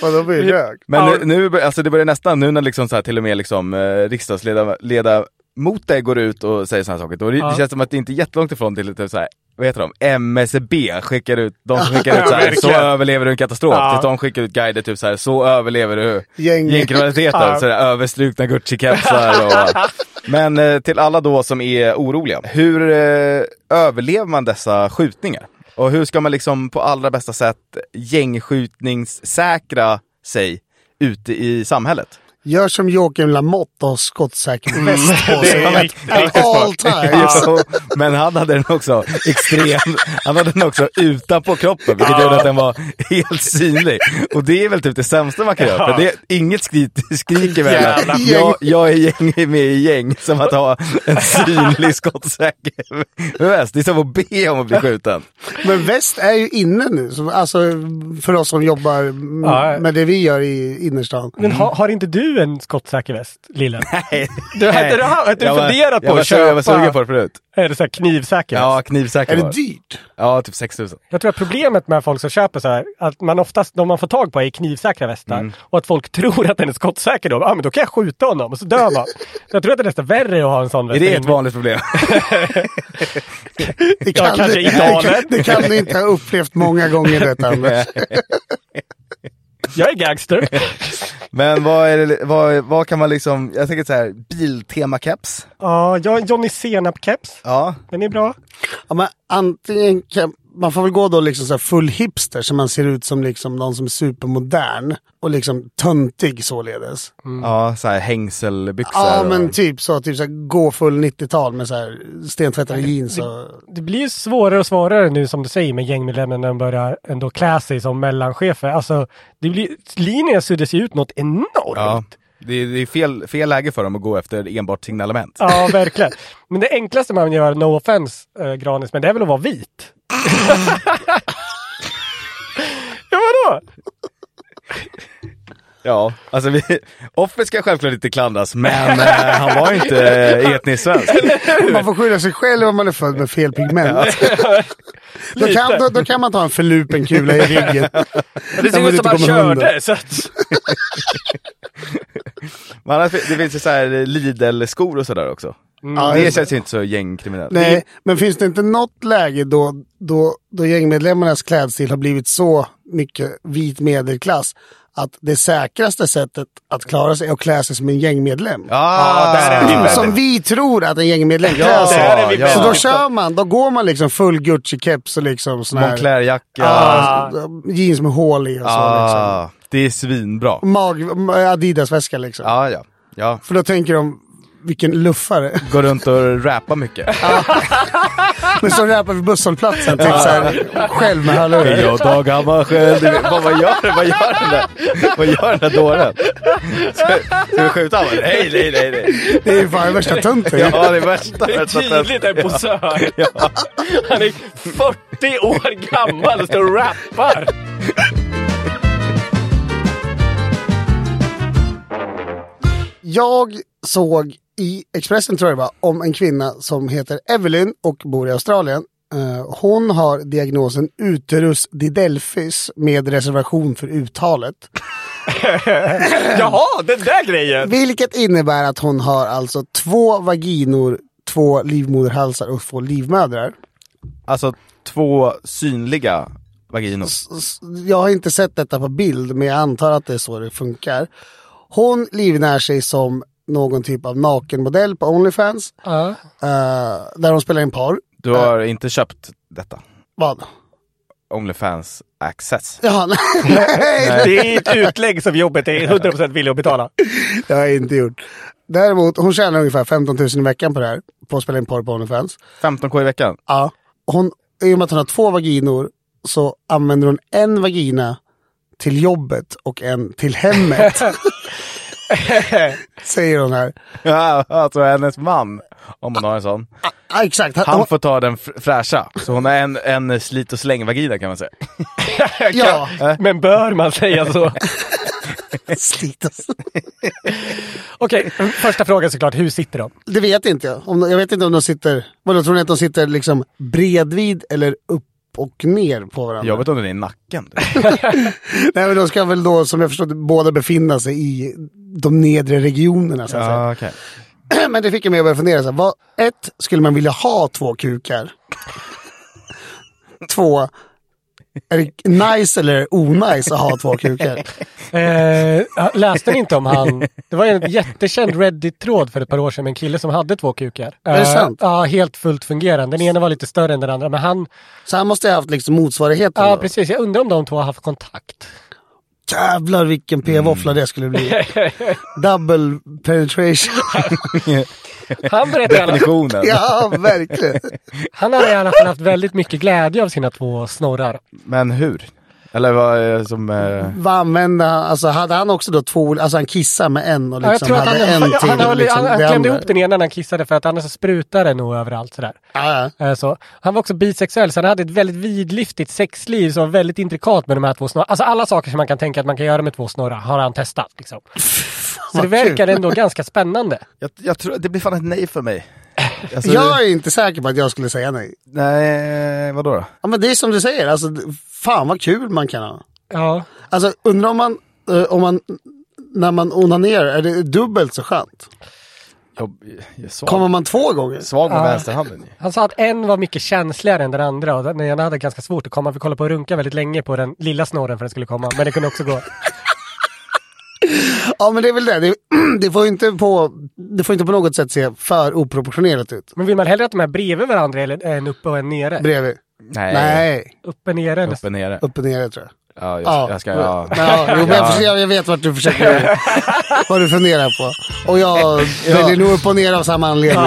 Fan, de blir rökt.
Men
Ja.
nu- nu, bör- alltså det börjar nästan, nu när liksom så här, till och med liksom eh, riksdagsledamöter går ut och säger sådana saker, då det,
Ja.
det känns som att det inte är jättelångt ifrån till typ så här, vad heter de? MSB skickar ut, de som skickar ut så här, så
verkligen.
överlever du en katastrof.
Ja.
Tills de skickar ut guider typ så här, så överlever du
Gäng.
gängkriminaliteten.
Ja.
Så här, överstrukna Gucci-kepsar och... Men eh, till alla då som är oroliga, hur eh, överlever man dessa skjutningar? Och hur ska man liksom på allra bästa sätt gängskjutningssäkra sig ute i samhället?
Gör som Joakim Lamotte och har skottsäker väst på sig.
Det är riktigt.
At all times.
Jo, men han hade den också extrem, han hade den också utanpå kroppen vilket gjorde att den var helt synlig. Och det är väl typ det sämsta man kan göra, för det, inget skrik, skriker väl att jag, jag är gäng, med i gäng som att ha en synlig skottsäker väst. Det är som att be om att bli skjuten.
Men väst är ju inne nu. så- Alltså för oss som jobbar m-
Ja, ja.
med det vi gör i innerstan.
Men har, har inte du en skottsäker väst, lillen?
Nej.
Du hade du, hade du
Jag var-
funderat
jag
på
var,
att köpa...
Jag var sugen på det förut.
Är det så här knivsäker väst?
Ja, knivsäker
Är
var
det
det.
dyrt?
Ja, typ 6000.
Jag tror att problemet med folk som köper så här, att man oftast, de man får tag på är knivsäkra västar. Och att folk tror att den är skottsäker då. Ja, ah, men då kan jag skjuta honom och så dör man. så jag tror att det är nästan värre att ha en sån väst.
Är det ett vanligt problem?
Det
Ja,
du-
kanske i
det kan-
Dalen.
Det kan du inte ha upplevt många gånger detta Anders.
Jag är gangster.
Men vad, är det, vad, vad kan man liksom, jag tänker så här, Biltema-keps.
Ja, jag har en Johnny Senap-keps.
Ja.
Den är bra.
Ja, men antingen kan, man får väl gå då liksom så här full hipster så man ser ut som liksom någon som är supermodern och liksom töntig således.
Mm. Ja, så här hängselbyxor.
Ja
och-
men typ så, typ så här, gå full 90-tal med så här stentvättade jeans och...
Det blir ju svårare och svårare nu som du säger med gängmedlemmarna när de börjar ändå klä sig som mellanchefer. Alltså, det blir, linjerna suddas ju ut något enormt.
Ja. Det är, det är fel, fel läge för dem att gå efter enbart signalement.
Ja, verkligen. Men det enklaste man gör, no offense eh, Granis, men det är väl att vara vit? ja, vadå?
Ja, alltså vi, offret ska självklart inte klandras, men eh, han var ju inte eh, etnisk svensk.
Man får skylla sig själv om man är född med fel pigment. då, kan, då, då kan man ta en förlupen kula i ryggen.
Det
Den var
ser ut
lite
som han
kommer hunden.
körde. Så att,
Men annars, fin- det finns ju så här Lidl-skor och sådär också.
Ja,
det
just
känns ju inte så gängkriminellt.
Nej, men finns det inte något läge då, då, då gängmedlemmarnas klädstil har blivit så mycket vit medelklass att det säkraste sättet att klara sig är att klä sig som en gängmedlem?
Ah,
där är
Typ
vi.
som vi tror att en gängmedlem
Ja,
klär sig.
där är vi
ja.
Så då kör man, då går man liksom full Gucci-keps och liksom sån här
Moncler-jacka.
ah, jeans med hål i och så. Liksom.
Ah, det är svinbra.
Mag, Adidas-väska liksom.
Ja, ja. ja.
För då tänker de, vilken luffare.
Går runt och rappar mycket.
Men så rappar vi busshållplatsen, typ såhär, själv med hörlurar.
Jag Dag Hammarskjöld. Vad, vad, gör, vad gör den där, vad gör den där dåren? Ska, ska vi skjuta honom? Nej, nej, nej. nej.
Det är ju fan värsta tönten.
Ja, det är värsta.
Det är
värsta
tydligt
testen.
en posör. Han är 40 år gammal och står och rappar.
Jag såg i Expressen, tror jag det var, om en kvinna som heter Evelyn och bor i Australien. Eh, Hon har diagnosen uterus didelphys med reservation för uttalet.
Jaha, den där grejen!
Vilket innebär att hon har alltså två vaginor, två livmoderhalsar och två livmödrar.
Alltså två synliga vaginor.
s- jag har inte sett detta på bild, men jag antar att det är så det funkar. Hon livnär sig som någon typ av nakenmodell på Onlyfans. Eh, där hon spelar in porr.
Du har inte köpt detta?
Vad?
Onlyfans access.
Jaha, nej,
Det är ett utlägg som jobbet är 100% villig att betala.
det har jag inte gjort. Däremot, hon tjänar ungefär 15 000 i veckan på det här. På att spela in porr på Onlyfans.
15k i veckan.
Ja. Hon, I och med att hon har två vaginor så använder hon en vagina till jobbet och en till hemmet. Säger hon här.
Ja, alltså hennes man, om hon har en sån.
Ja, exakt.
Han får ta den fr- fräscha. Så hon har en, en slit och släng-vagina kan man säga.
Ja,
Men bör man säga så?
slitas.
Okej, första frågan såklart. Hur sitter de?
Det vet inte jag. Om, jag vet inte om de sitter... Vadå, tror ni att de sitter liksom bredvid eller upp och ner på varandra?
Jobbigt om den är i nacken. typ.
Nej, men de ska väl då, som jag förstod båda befinna sig i de nedre regionerna. Så att
Ja, okej.
säga. Men det fick jag mig att börja fundera. Så här, vad, ett, skulle man vilja ha två kukar? två, är det nice eller onajs att ha två kukar?
Eh, läste ni inte om han? Det var en jättekänd Reddit-tråd för ett par år sedan med en kille som hade två kukar. Eh,
Är det sant?
Ja, helt fullt fungerande. Den ena var lite större än den andra, men han...
Så han måste ha haft liksom motsvarigheten.
Ja,
då.
precis. Jag undrar om de två har haft kontakt.
Jävlar vilken p-våffla
Mm.
det skulle bli. Double penetration.
Han berättade i alla
Definitionen.
ja, verkligen.
Han har i alla fall haft väldigt mycket glädje av sina två snorrar.
Men hur? Eller vad är det som... Eh...
Vad använde han? Alltså hade han också då två ol- Alltså han kissade med en och
Ja, jag
liksom
tror att han,
hade
han,
en
han,
till.
han, höll-
liksom,
han, han
det
klämde
andra.
ihop den ena när han kissade för att annars så sprutar det nog överallt sådär.
Ja, ja.
Eh, Så. Han var också bisexuell så han hade ett väldigt vidlyftigt sexliv som var väldigt intrikat med de här två snorrarna. Alltså alla saker som man kan tänka att man kan göra med två snorrar har han testat. Liksom. Så
vad
det verkar ändå ganska spännande.
Jag, jag tror det blir fan ett nej för mig. Alltså,
Jag är inte säker på att jag skulle säga nej.
Nej, vadå då?
Ja, men det är som du säger, alltså, d- fan vad kul man kan ha.
Ja.
Alltså undrar om man, eh, om man när man onanerar, är det dubbelt så skönt?
Jag, jag är svag.
Kommer man två gånger?
svag med vänsterhanden ju.
Han sa att en var mycket känsligare än den andra och den ena hade ganska svårt att komma. Vi kollade på och runka väldigt länge på den lilla snorren för den skulle komma. Men det kunde också gå.
Ja men det är väl det, det, det, får, ju inte på, det får inte på något sätt se för oproportionerligt ut.
Men vill man hellre att de här bredvid varandra eller en uppe och en nere?
Bredvid.
Nej.
Nej,
Uppe nere.
Upp och nere.
upp och ner tror jag.
Ja, jag,
Ja.
jag ska... Ja.
Ja, jo, men jag, förstår, jag vet vart du försöker, vad du funderar på. Och jag väljer nog upp och ner av samma anledning.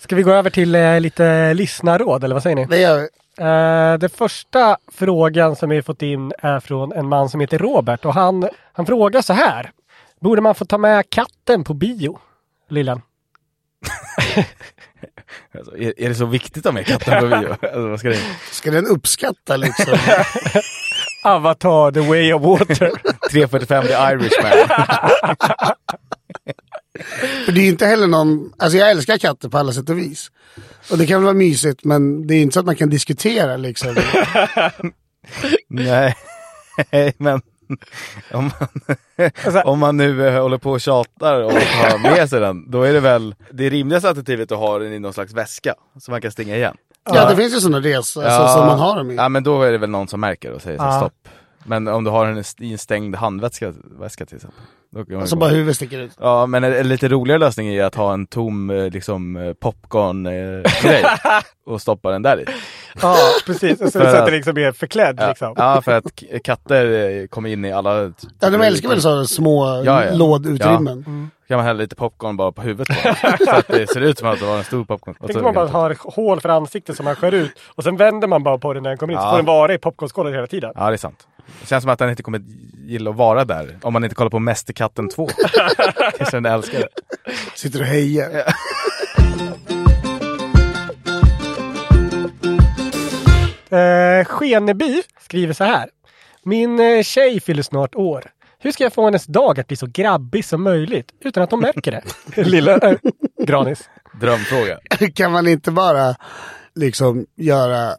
Ska vi gå över till eh, lite lyssnarråd eller vad säger ni?
Det gör vi.
Eh, den första frågan som vi fått in är från en man som heter Robert och han, han frågar så här. Borde man få ta med katten på bio? Lillen.
Alltså, är, är det så viktigt att ha med katten på bio? Alltså, vad ska det...
Ska den uppskatta liksom?
Avatar the way of water.
3.45 The Irishman.
För det är ju inte heller någon, alltså jag älskar katter på alla sätt och vis. Och det kan väl vara mysigt men det är inte så att man kan diskutera liksom.
Nej, men om man,
Alltså-
om man nu eh, håller på och tjatar och har med sig den, då är det väl det rimligaste alternativet att ha den i någon slags väska som man kan stänga igen.
Ja det finns ju sådana resor alltså, som man har dem i.
Ja, men då är det väl någon som märker och säger så,
Ja.
stopp. Men om du har den i en stängd handväska väska till exempel. Då kan man
Alltså
gå-
bara huvudet sticker ut.
Ja, men en, en lite roligare lösning är att ha en tom eh, liksom, eh, popcorn-grej och stoppa den där i.
Ja, precis. Och sen
För
så att
att-
det liksom är förklädd
Ja,
liksom.
ja för att k- katter eh, kommer in i alla...
Ja de älskar väl sådana små
Ja, ja. Mm.
lådutrymmen.
kan man hälla lite popcorn bara på huvudet på dem. så att det ser ut som att det var en stor popcorn. Och
Tänk
så-
om man bara har hål för ansiktet som man skär ut och sen vänder man bara på den när den kommer in så
Ja.
får den vara i popcornskålen hela tiden.
Ja, det är sant. Det känns som att han inte kommer gilla att vara där om man inte kollar på Mästerkatten 2. Kanske den älskar det.
Sitter och hejar.
Eh, Skeneby skriver så här. Min eh, tjej fyller snart år. Hur ska jag få hennes dag att bli så grabbig som möjligt utan att hon märker det? Lilla eh, Granis.
Drömfråga.
kan man inte bara liksom göra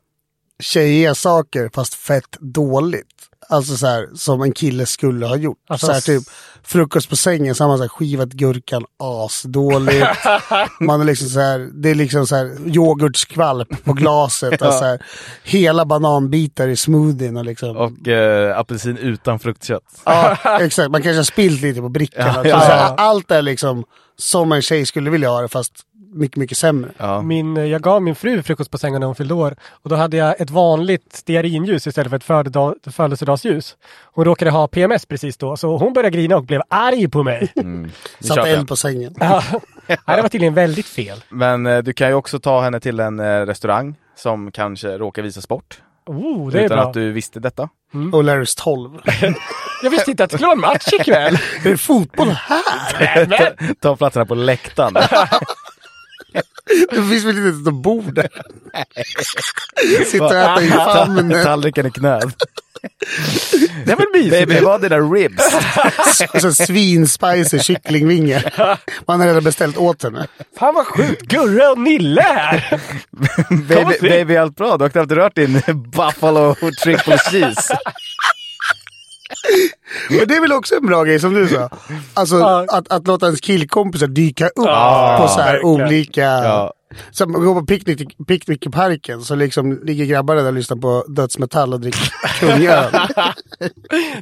tjejiga saker fast fett dåligt? Alltså så här som en kille skulle ha gjort.
Alltså,
så här, typ frukost på sängen så har man så här, skivat gurkan asdåligt. man är liksom så här, det är liksom så här yoghurtskvalp på glaset. alltså, så här, hela bananbitar i smoothien och liksom.
Och eh, apelsin utan fruktkött.
Ja, exakt. Man kanske har spillt lite på brickan.
Ja,
också.
ja,
Så här,
ja.
Allt är liksom som en tjej skulle vilja ha det fast mycket, mycket sämre.
Ja.
Min, eh, jag gav min fru frukost på sängen när hon fyllde år och då hade jag ett vanligt stearinljus istället för ett födelsedag- födelsedagsljus. Hon råkade ha PMS precis då så hon började grina och blev arg på mig.
Mm.
Satt
köper jag.
eld på sängen.
Ja. Nej, det var tydligen väldigt fel.
Men eh, du kan ju också ta henne till en eh, restaurang som kanske råkar visa sport.
Oh, det är
utan
bra.
att du visste detta.
Och Larrys 12.
Jag visste inte att det skulle vara en match ikväll.
Är det fotboll här?
ta platserna på läktaren.
Det finns väl inte ett bord där? Sitta och äta i famnen.
Tallriken i knät.
Det var mysigt.
Baby, vad är dina ribs?
Och så svinspicy kycklingvingar. Man har redan beställt åt henne.
Fan vad sjukt. Gurra och Nille här. Kom och
baby,
se.
baby, allt bra? Du har knappt rört din buffalo triple cheese.
Men det är väl också en bra grej som du sa. Alltså
Ja.
att, att låta ens killkompisar dyka upp
Ja,
på så här
verkligen.
olika...
Ja.
Som att gå på picknick, picknick i parken så liksom ligger grabbarna där och lyssnar på dödsmetall och dricker kungöl.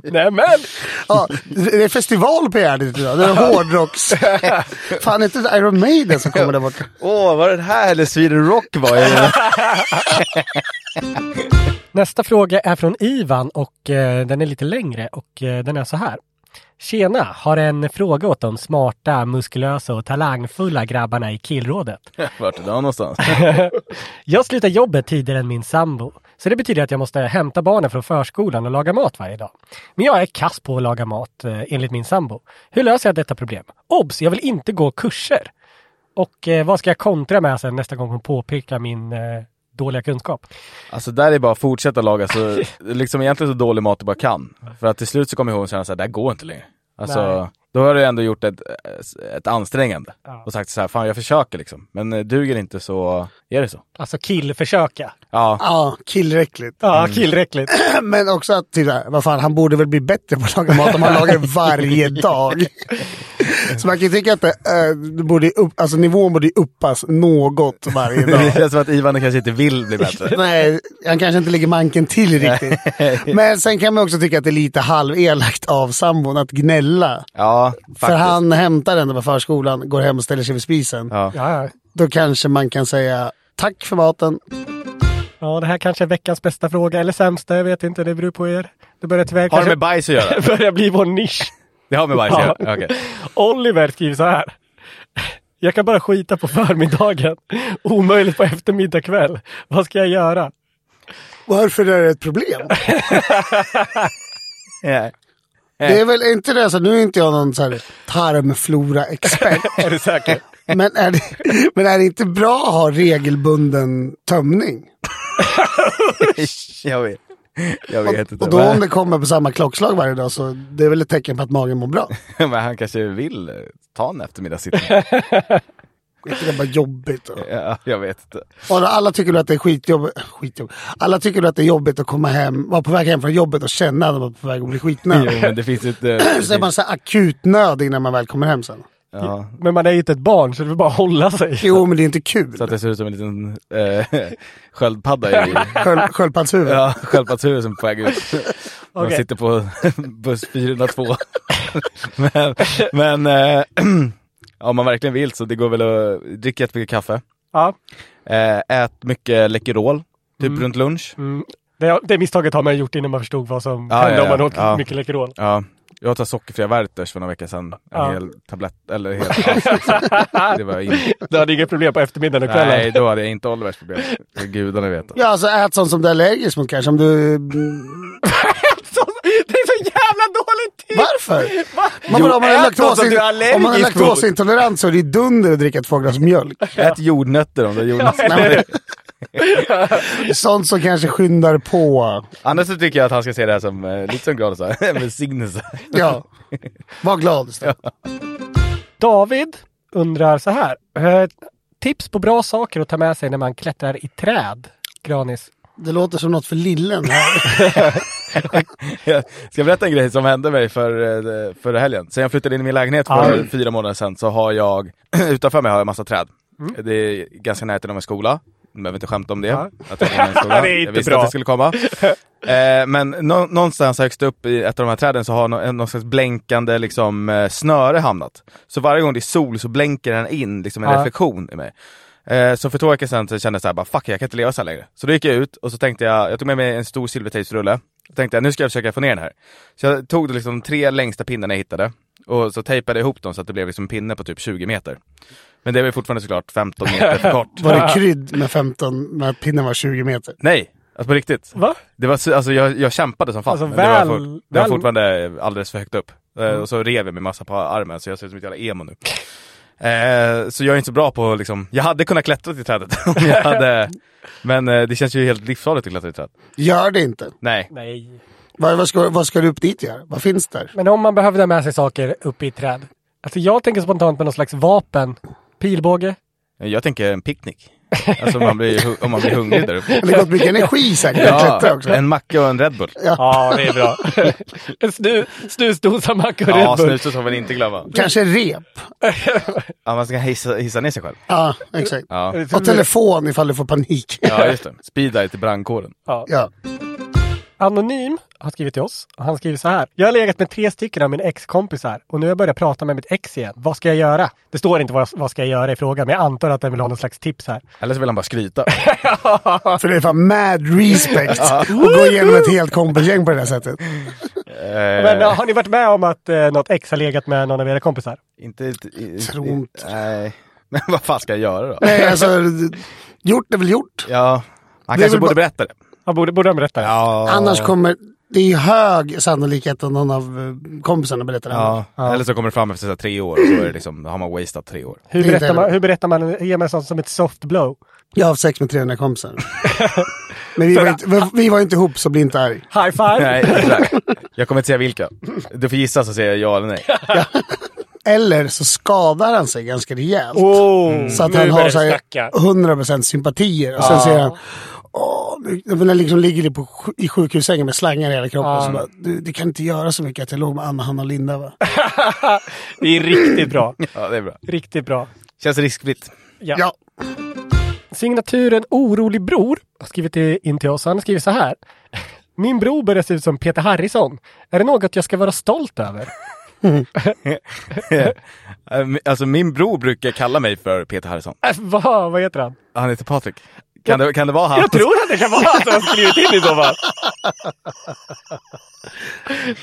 Nej men.
Ja, det är festival på Gärdet idag. Det är hårdrocks... Fan, är inte det Iron Maiden som kommer där borta?
Åh, vad den här eller Sweden Rock var ju.
Nästa fråga är från Ivan och eh, den är lite längre och eh, den är så här. Tjena, har en fråga åt de smarta, muskulösa och talangfulla grabbarna i killrådet.
Vart är den någonstans?
Jag slutar jobbet tidigare än min sambo. Så det betyder att jag måste hämta barnen från förskolan och laga mat varje dag. Men jag är kass på att laga mat eh, enligt min sambo. Hur löser jag detta problem? Obs! Jag vill inte gå kurser. Och eh, vad ska jag kontra med sen nästa gång hon påpekar min eh, dåliga kunskap?
Alltså där är bara att fortsätta laga så, liksom egentligen så dålig mat du bara kan. För att till slut så kommer hon känna såhär, det här går inte längre. Alltså,
Nej.
då har du ändå gjort ett, ett ansträngande.
Ja.
Och sagt så här, fan jag försöker liksom. Men eh, duger inte så är det så.
Alltså killförsöka.
Ja,
Ja, killräckligt.
Ja,
Mm.
killräckligt.
Men också att, typ, där, vad fan, han borde väl bli bättre på att laga mat om han lagar varje dag. Så man kan ju tycka att det, eh, det borde ju upp, alltså, nivån borde ju uppas något varje
det
dag.
känns som att Ivan kanske inte vill bli bättre.
Nej, han kanske inte ligger manken till riktigt. Men sen kan man också tycka att det är lite halvelakt av sambon att gnälla.
Ja, faktiskt.
För han hämtar henne på förskolan, går hem och ställer sig vid spisen.
Ja.
Ja, ja.
Då kanske man kan säga tack för maten.
ja, det här kanske är veckans bästa fråga eller sämsta. Jag vet inte, det beror på er. Det börjar tyvärr
Har det
kanske
med bajs att göra?
börja bli vår nisch.
Det har med bajs att göra?
Ja.
Okej.
Oliver skriver så här. Jag kan bara skita på förmiddagen. Omöjligt på eftermiddag kväll. Vad ska jag göra?
Varför är det ett problem?
Nej.
Det
Eh.
är väl inte det, så nu är inte jag någon så här tarmflora-expert.
Är du säker?
Men är, det, men är det inte bra att ha regelbunden tömning?
Jag vet. Jag vet inte.
Och då om
Men-
det kommer på samma klockslag varje dag så det är väl ett tecken på att magen mår bra.
Men han kanske vill eh, ta en eftermiddagssittning.
Det är bara jobbigt. Och...
ja, jag vet inte.
Och alla tycker väl att det är skitjobbigt. skitjobb. Alla tycker väl att det är jobbigt att komma hem, vara på väg hem från jobbet och känna att man är på väg att bli
Jo,
skitnödig.
men det finns eh, inte... det
så är man
finns-
så här akut nöd innan man väl kommer hem sen.
Ja.
Men man är ju inte ett barn så det vill bara hålla sig.
Jo, men det är inte kul.
Så att det ser ut som en liten eh, sköldpadda i...
Sköld- Sköldpaddshuvud.
Ja, sköldpaddshuvud som är på väg ut. De
Okej.
sitter på buss 402. men men eh, om man verkligen vill så det går väl att dricka jättemycket kaffe.
Ja.
Eh, ät mycket Läkerol, typ runt lunch.
Mm. Det, det misstaget har man gjort innan man förstod vad som
Ja,
hände
ja,
om man
ja.
åt
Ja.
mycket Läkerol.
Ja, jag tar sockerfria Werthers för några veckor sedan. En
Ja.
hel tablett, eller en hel alltså, Det var in...
Du hade inga problem på eftermiddagen och kvällen.
Nej, då hade jag inte Olivers problem. Gudarna vet.
Ja, alltså ät sånt som du är allergisk mot kanske. Om du...
Så- Det är så jävla dåligt tid!
Varför? Man,
Jo,
om, man är
ät något som du är
laktosin...
allergisk
om man är
mot.
laktosintolerant så är det ju dunder att dricka ett två glas mjölk.
Ät jordnötter om du har jordnötter.
Nej, men, sånt som kanske skyndar på.
Annars så tycker jag att han ska se det här som, eh, lite som Granus sa, en välsignelse.
Ja. Var glad istället.
David undrar så här. eh, Tips på bra saker att ta med sig när man klättrar i träd. Granis.
Det låter som något för lillen. här.
Jag ska berätta en grej som hände mig för, eh, förra helgen. Sen jag flyttade in i min lägenhet för
Aj.
fyra månader sedan så har jag, utanför mig har jag en massa träd.
Mm.
Det är ganska nära till en skola. Jag behöver inte skämta om det.
Ja.
Att det, är en skola.
Ah. Det är
jag
inte
visste
bra.
att det skulle komma. Eh, men nå- någonstans högst upp i ett av de här träden så har nå- en- någon slags blänkande liksom, eh, snöre hamnat. Så varje gång det är sol så blänker den in liksom, en
Ja.
reflektion i mig. Eh, så för två veckor sedan så kände jag så här, bara, fuck jag kan inte leva så här längre. Så då gick jag ut och så tänkte jag, jag tog med mig en stor silvertejpsrulle. Då tänkte jag, nu ska jag försöka få ner den här. Så jag tog liksom de tre längsta pinnarna jag hittade och så tejpade jag ihop dem så att det blev liksom en pinne på typ 20 meter. Men det var ju fortfarande såklart 15 meter för kort.
Var det krydd med 15, när pinnen var 20 meter?
Nej, alltså på riktigt.
Va?
Det var, så- alltså, jag, jag kämpade som fan.
Alltså,
men det,
väl-
var fort, det var
väl- Mm.
fortfarande alldeles för högt upp. Eh, Och så rev jag mig massa på armen så jag ser ut som ett jävla emo nu. Eh, så jag är inte så bra på att liksom, jag hade kunnat klättra till trädet om jag hade, men eh, det känns ju helt livsfarligt att klättra till träd.
Gör det inte.
Nej.
Nej.
Vad, vad, ska, vad ska du upp dit göra? Vad finns där?
Men om man behöver ta med sig saker uppe i träd. Alltså jag tänker spontant på någon slags vapen. Pilbåge.
Jag tänker en picknick. Alltså man blir, hu- om man blir hungrig där uppe.
Det går åt mycket energi säkert att klättra
Ja,
också.
en macka och en Red Bull.
Ja, det är bra. en snu, snusdosa macka och
Ja,
Red Bull.
snuset får man inte glömma.
Kanske rep.
Ja, man ska hissa, hissa ner sig själv.
Ja, exakt.
Ja,
Och telefon ifall du får panik.
ja just det. Speeddive till brandkåren.
Ja.
Anonym har skrivit till oss. Och han skriver så här. Jag har legat med tre stycken av mina ex-kompisar och nu har jag börjat prata med mitt ex igen. Vad ska jag göra? Det står inte vad, vad ska jag göra i frågan, men jag antar att den vill ha någon slags tips här.
Eller så vill han bara skryta.
För Alltså, det är fan mad respect att gå igenom ett helt kompisgäng på det där sättet.
Men eh, har ni varit med om att eh, något ex har legat med någon av era kompisar?
Inte... i- i-
Tror
i-
inte.
Nej. Men vad fan ska jag göra då?
Nej, alltså, gjort är väl gjort.
Ja, han
Det är
kanske
väl
borde
bara-
berätta det.
Han borde, borde de berätta det?
Ja.
Annars kommer... Det är ju hög sannolikhet att någon av eh, kompisarna berättar det.
Ja. Eller så kommer det fram efter så här, tre år och så är det liksom, då har man wasted tre år.
Hur
Det är
berättar,
inte-
man, hur berättar man, ger man sånt som ett soft blow?
Jag har haft sex med 300 kompisar. Men vi var, inte, vi- vi var inte ihop så bli inte arg.
High five!
Nej, exakt. Jag kommer inte säga vilka. Du får gissa så säger jag ja eller nej.
Eller så skadar han sig ganska rejält.
Oh,
Så att
nu
han
börjar
har
det
så här
snacka.
100% sympatier. Och sen säger han... Åh, nu- när jag liksom ligger på, sj- i sjukhussängen med slangar i hela kroppen. Så bara, du, det kan inte göra så mycket att jag låg med Anna, Hanna och Linda va?
Det är riktigt bra.
Ja, det är bra.
Riktigt bra.
Känns riskfritt.
Ja.
Ja.
Signaturen Orolig Bror har skrivit till- in till oss. Han skriver så här. Min bror börjar se ut som Peter Harrison. Är det något jag ska vara stolt över?
Ehm, Alltså min bror brukar kalla mig för Peter Harrison.
Äh, vad, vad heter han?
Han heter Patrik. Kan det, kan det vara han?
Jag tror att det kan vara han som har skrivit in i så fall.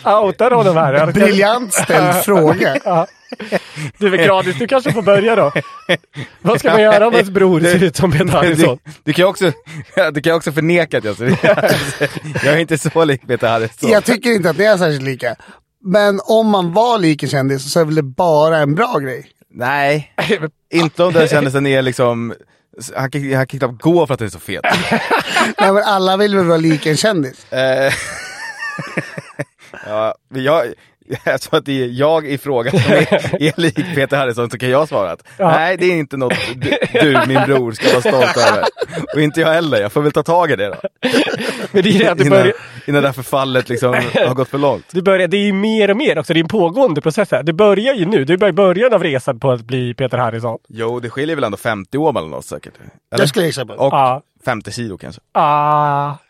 Outar honom här. Jag-
Briljant ställd fråga.
Ja. Du är gratis, du kanske får börja då. Vad ska man göra om ens bror ser ut som Peter
du,
Harrison?
du kan ju också, du kan ju också förneka att jag ser Jag är inte så lik Peter Harrison.
Jag tycker inte att ni är särskilt lika. Men om man var lik en kändis så är väl det bara en bra grej?
Nej, inte om den kändisen är liksom Han kan, han kan knappt gå för att han är så fet.
Nej, men alla vill väl vara lik en kändis?
Eh, ja, men jag, eftersom att det är jag i frågan som är, är lik Peter Harrison så kan jag svara att nej, det är inte något du, du, min bror, ska vara stolt över. Och inte jag heller, jag får väl ta tag i det då.
Men det är det att du
Innan,
börjar,
innan det här förfallet liksom har gått för långt.
du börjar, det är ju mer och mer också. Det är en pågående process här. Det börjar ju nu. Du är i början av resan på att bli Peter Harrison.
Jo, det skiljer väl ändå 50 år mellan oss säkert? Eller?
Jag skulle gissa på.
Och
Ja.
50 kilo kanske.
Ah.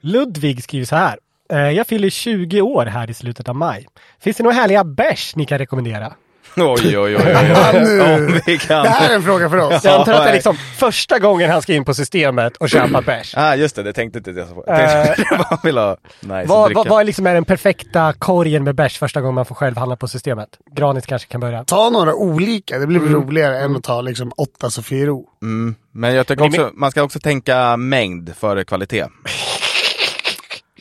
Ludvig skriver så här. Eh, Jag fyller 20 år här i slutet av maj. Finns det några härliga bärs ni kan rekommendera?
Oj, oj, oj, oj. oj. Om vi kan.
Det här är en fråga för oss.
Jag antar att det är
nej.
liksom första gången han ska in på systemet och köpa bärs.
Ah, just det, det tänkte inte jag på. Jag tänkte att man vill ha nice
Vad,
dricka.
vad, vad är liksom är den perfekta korgen med bärs första gången man får själv handla på systemet? Granis kanske kan börja.
Ta några olika, det blir
Mm.
roligare än att ta liksom åtta Sofiero.
Men jag tycker också, man ska också tänka mängd före kvalitet.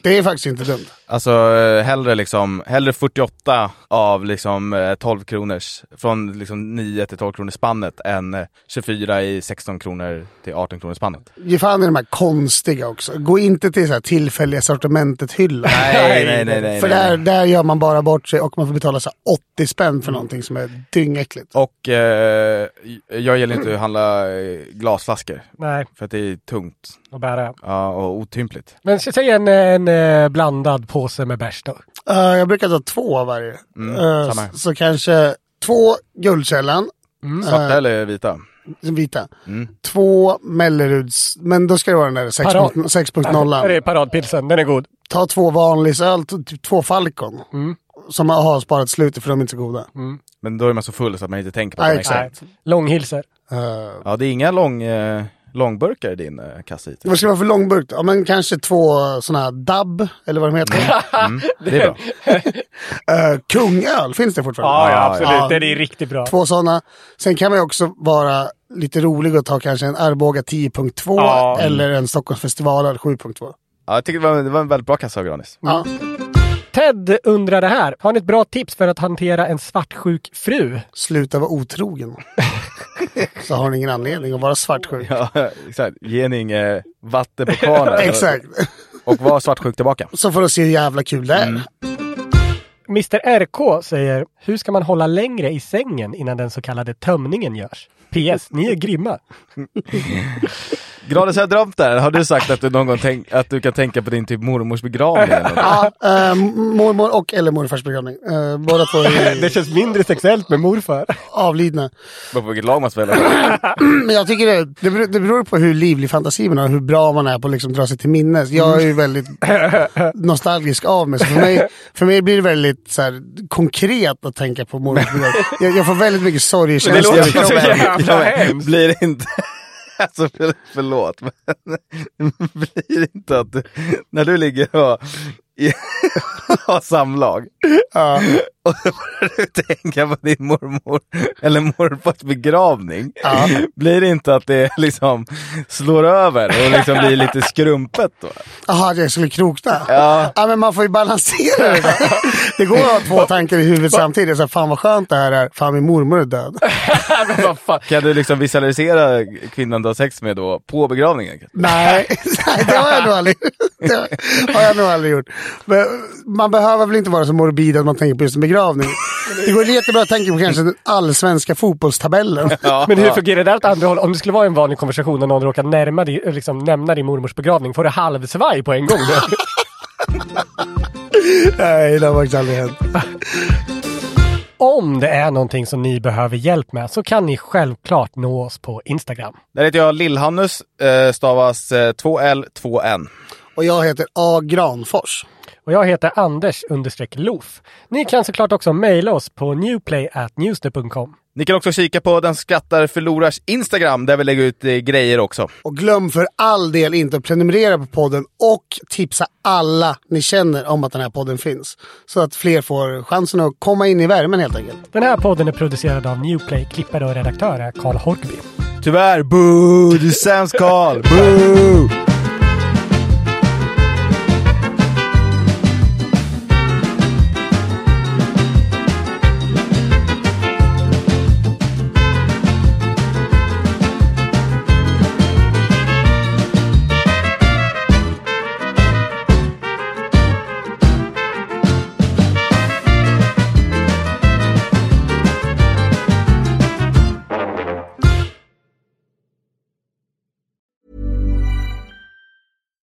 Det är faktiskt inte dumt.
Alltså eh, hellre, liksom, hellre 48 av liksom eh, 12 kronors, från liksom 9 till 12 kronors spannet än eh, 24 i 16 kronor till 18 kronors spannet.
Ge fan i de här konstiga också. Gå inte till så här tillfälliga sortimentet-hylla.
Nej, nej, nej, nej.
För
nej,
där,
nej.
där gör man bara bort sig och man får betala så här 80 spänn för någonting som är dyngäckligt.
Och eh, jag gillar inte att handla eh, glasflaskor,
Nej,
för att det är tungt
och bära.
ja, och otympligt.
Men s- säg en, en eh, blandad påse med bärs då.
Eh, jag brukar ta två av varje. Eh,
Mm, samma här.
så kanske två Guldkällan,
Svarta eller vita?
vita.
Mm.
Två Melleruds, men då ska det vara den där
Parad.
6.0.
Här
6.0.
är paradpilsen, den är god.
Ta två Vanlisöl, t- typ två Falcon.
Mm.
Som har sparat slutet för de är inte så goda.
Men då är man så full så att man inte tänker på
Nej,
det.
exakt.
Nej. Långhilser.
Eh,
Ja, det är inga lång, eh, långburkar i din eh, kassa hittills.
vad ska det vara för långburk då? Ja, men kanske två sådana här dubb, eller vad de heter.
Mm. Det är bra.
Eh, kungöl, finns det fortfarande?
Ja, ja,
ja,
absolut.
ja.
Den är riktigt bra.
Två sådana. Sen kan man ju också vara lite rolig och ta kanske en Arboga 10.2
Ja.
eller en Stockholmsfestival 7.2.
Ja, jag tycker det var, det var en väldigt bra kassa av Granis.
Ja.
Ted undrar det här. Har ni ett bra tips för att hantera en svartsjuk fru?
Sluta vara otrogen. Så har ni ingen anledning att vara svartsjuk.
Ja, exakt. Ge en inget vatten på kvarnen.
Exakt.
Och var svartsjuk tillbaka.
Så får du se hur jävla kul det är.
Mr RK säger, hur ska man hålla längre i sängen innan den så kallade tömningen görs? PS, ni är grymma.
Granis, jag har drömt där. Har du sagt att du någon gång tänk, att du kan tänka på din typ mormors begravning? eller något?
Ja, eh, mormor och eller morfars begravning. Eh, båda två är
Det känns mindre sexuellt med morfar.
avlidna.
Bara på vilket lag man spelar.
Men jag tycker det, det, beror, det beror på hur livlig fantasi man har, hur bra man är på att liksom dra sig till minnes. Jag är ju väldigt nostalgisk av mig, så för mig, för mig blir det väldigt så här, konkret att tänka på mormors begravning. Jag, jag får väldigt mycket
Det
sorgekänslor.
låter
i
så
kroppen.
jävla
jävla
hemskt.
hemskt.
Blir det inte... Alltså för, förlåt, men blir det inte att du, när du ligger och i- har samlag
Ja.
och så börjar du tänka på din mormor eller morfars begravning.
Ja.
Blir det inte att det liksom slår över och liksom blir lite skrumpet då?
Jaha, att jag skulle krokna?
Ja.
men man får ju balansera det där. Det går att ha två tankar i huvudet samtidigt. Så här, fan vad skönt det här är. Fan min mormor är död.
Kan du liksom visualisera kvinnan du har sex med då på begravningen?
Nej, nej, det har jag nog aldrig, det har jag nog aldrig gjort. Men man behöver väl inte vara så morbid att man tänker på just en begravning. Det går jättebra att tänka på kanske den allsvenska fotbollstabellen.
Men hur fungerar det där åt andra hållet? Om det skulle vara en vanlig konversation och någon råkar närma dig, liksom, nämna din mormors begravning, får du halvsvaj på en gång? då?
Nej, det har faktiskt aldrig hänt.
Om det är någonting som ni behöver hjälp med så kan ni självklart nå oss på Instagram.
Där heter jag Lillhannus, eh, stavas eh, 2L 2N.
Och jag heter A. Granfors.
Och jag heter Anders understreck Loof. Ni kan såklart också mejla oss på newplay.newsnet.com.
Ni kan också kika på Den skrattar förlorars Instagram där vi lägger ut eh, grejer också.
Och glöm för all del inte att prenumerera på podden och tipsa alla ni känner om att den här podden finns. Så att fler får chansen att komma in i värmen helt enkelt.
Den här podden är producerad av Newplay, klippare och redaktör är Karl Horkby.
Tyvärr, boo! Du är sämst Karl! Boo!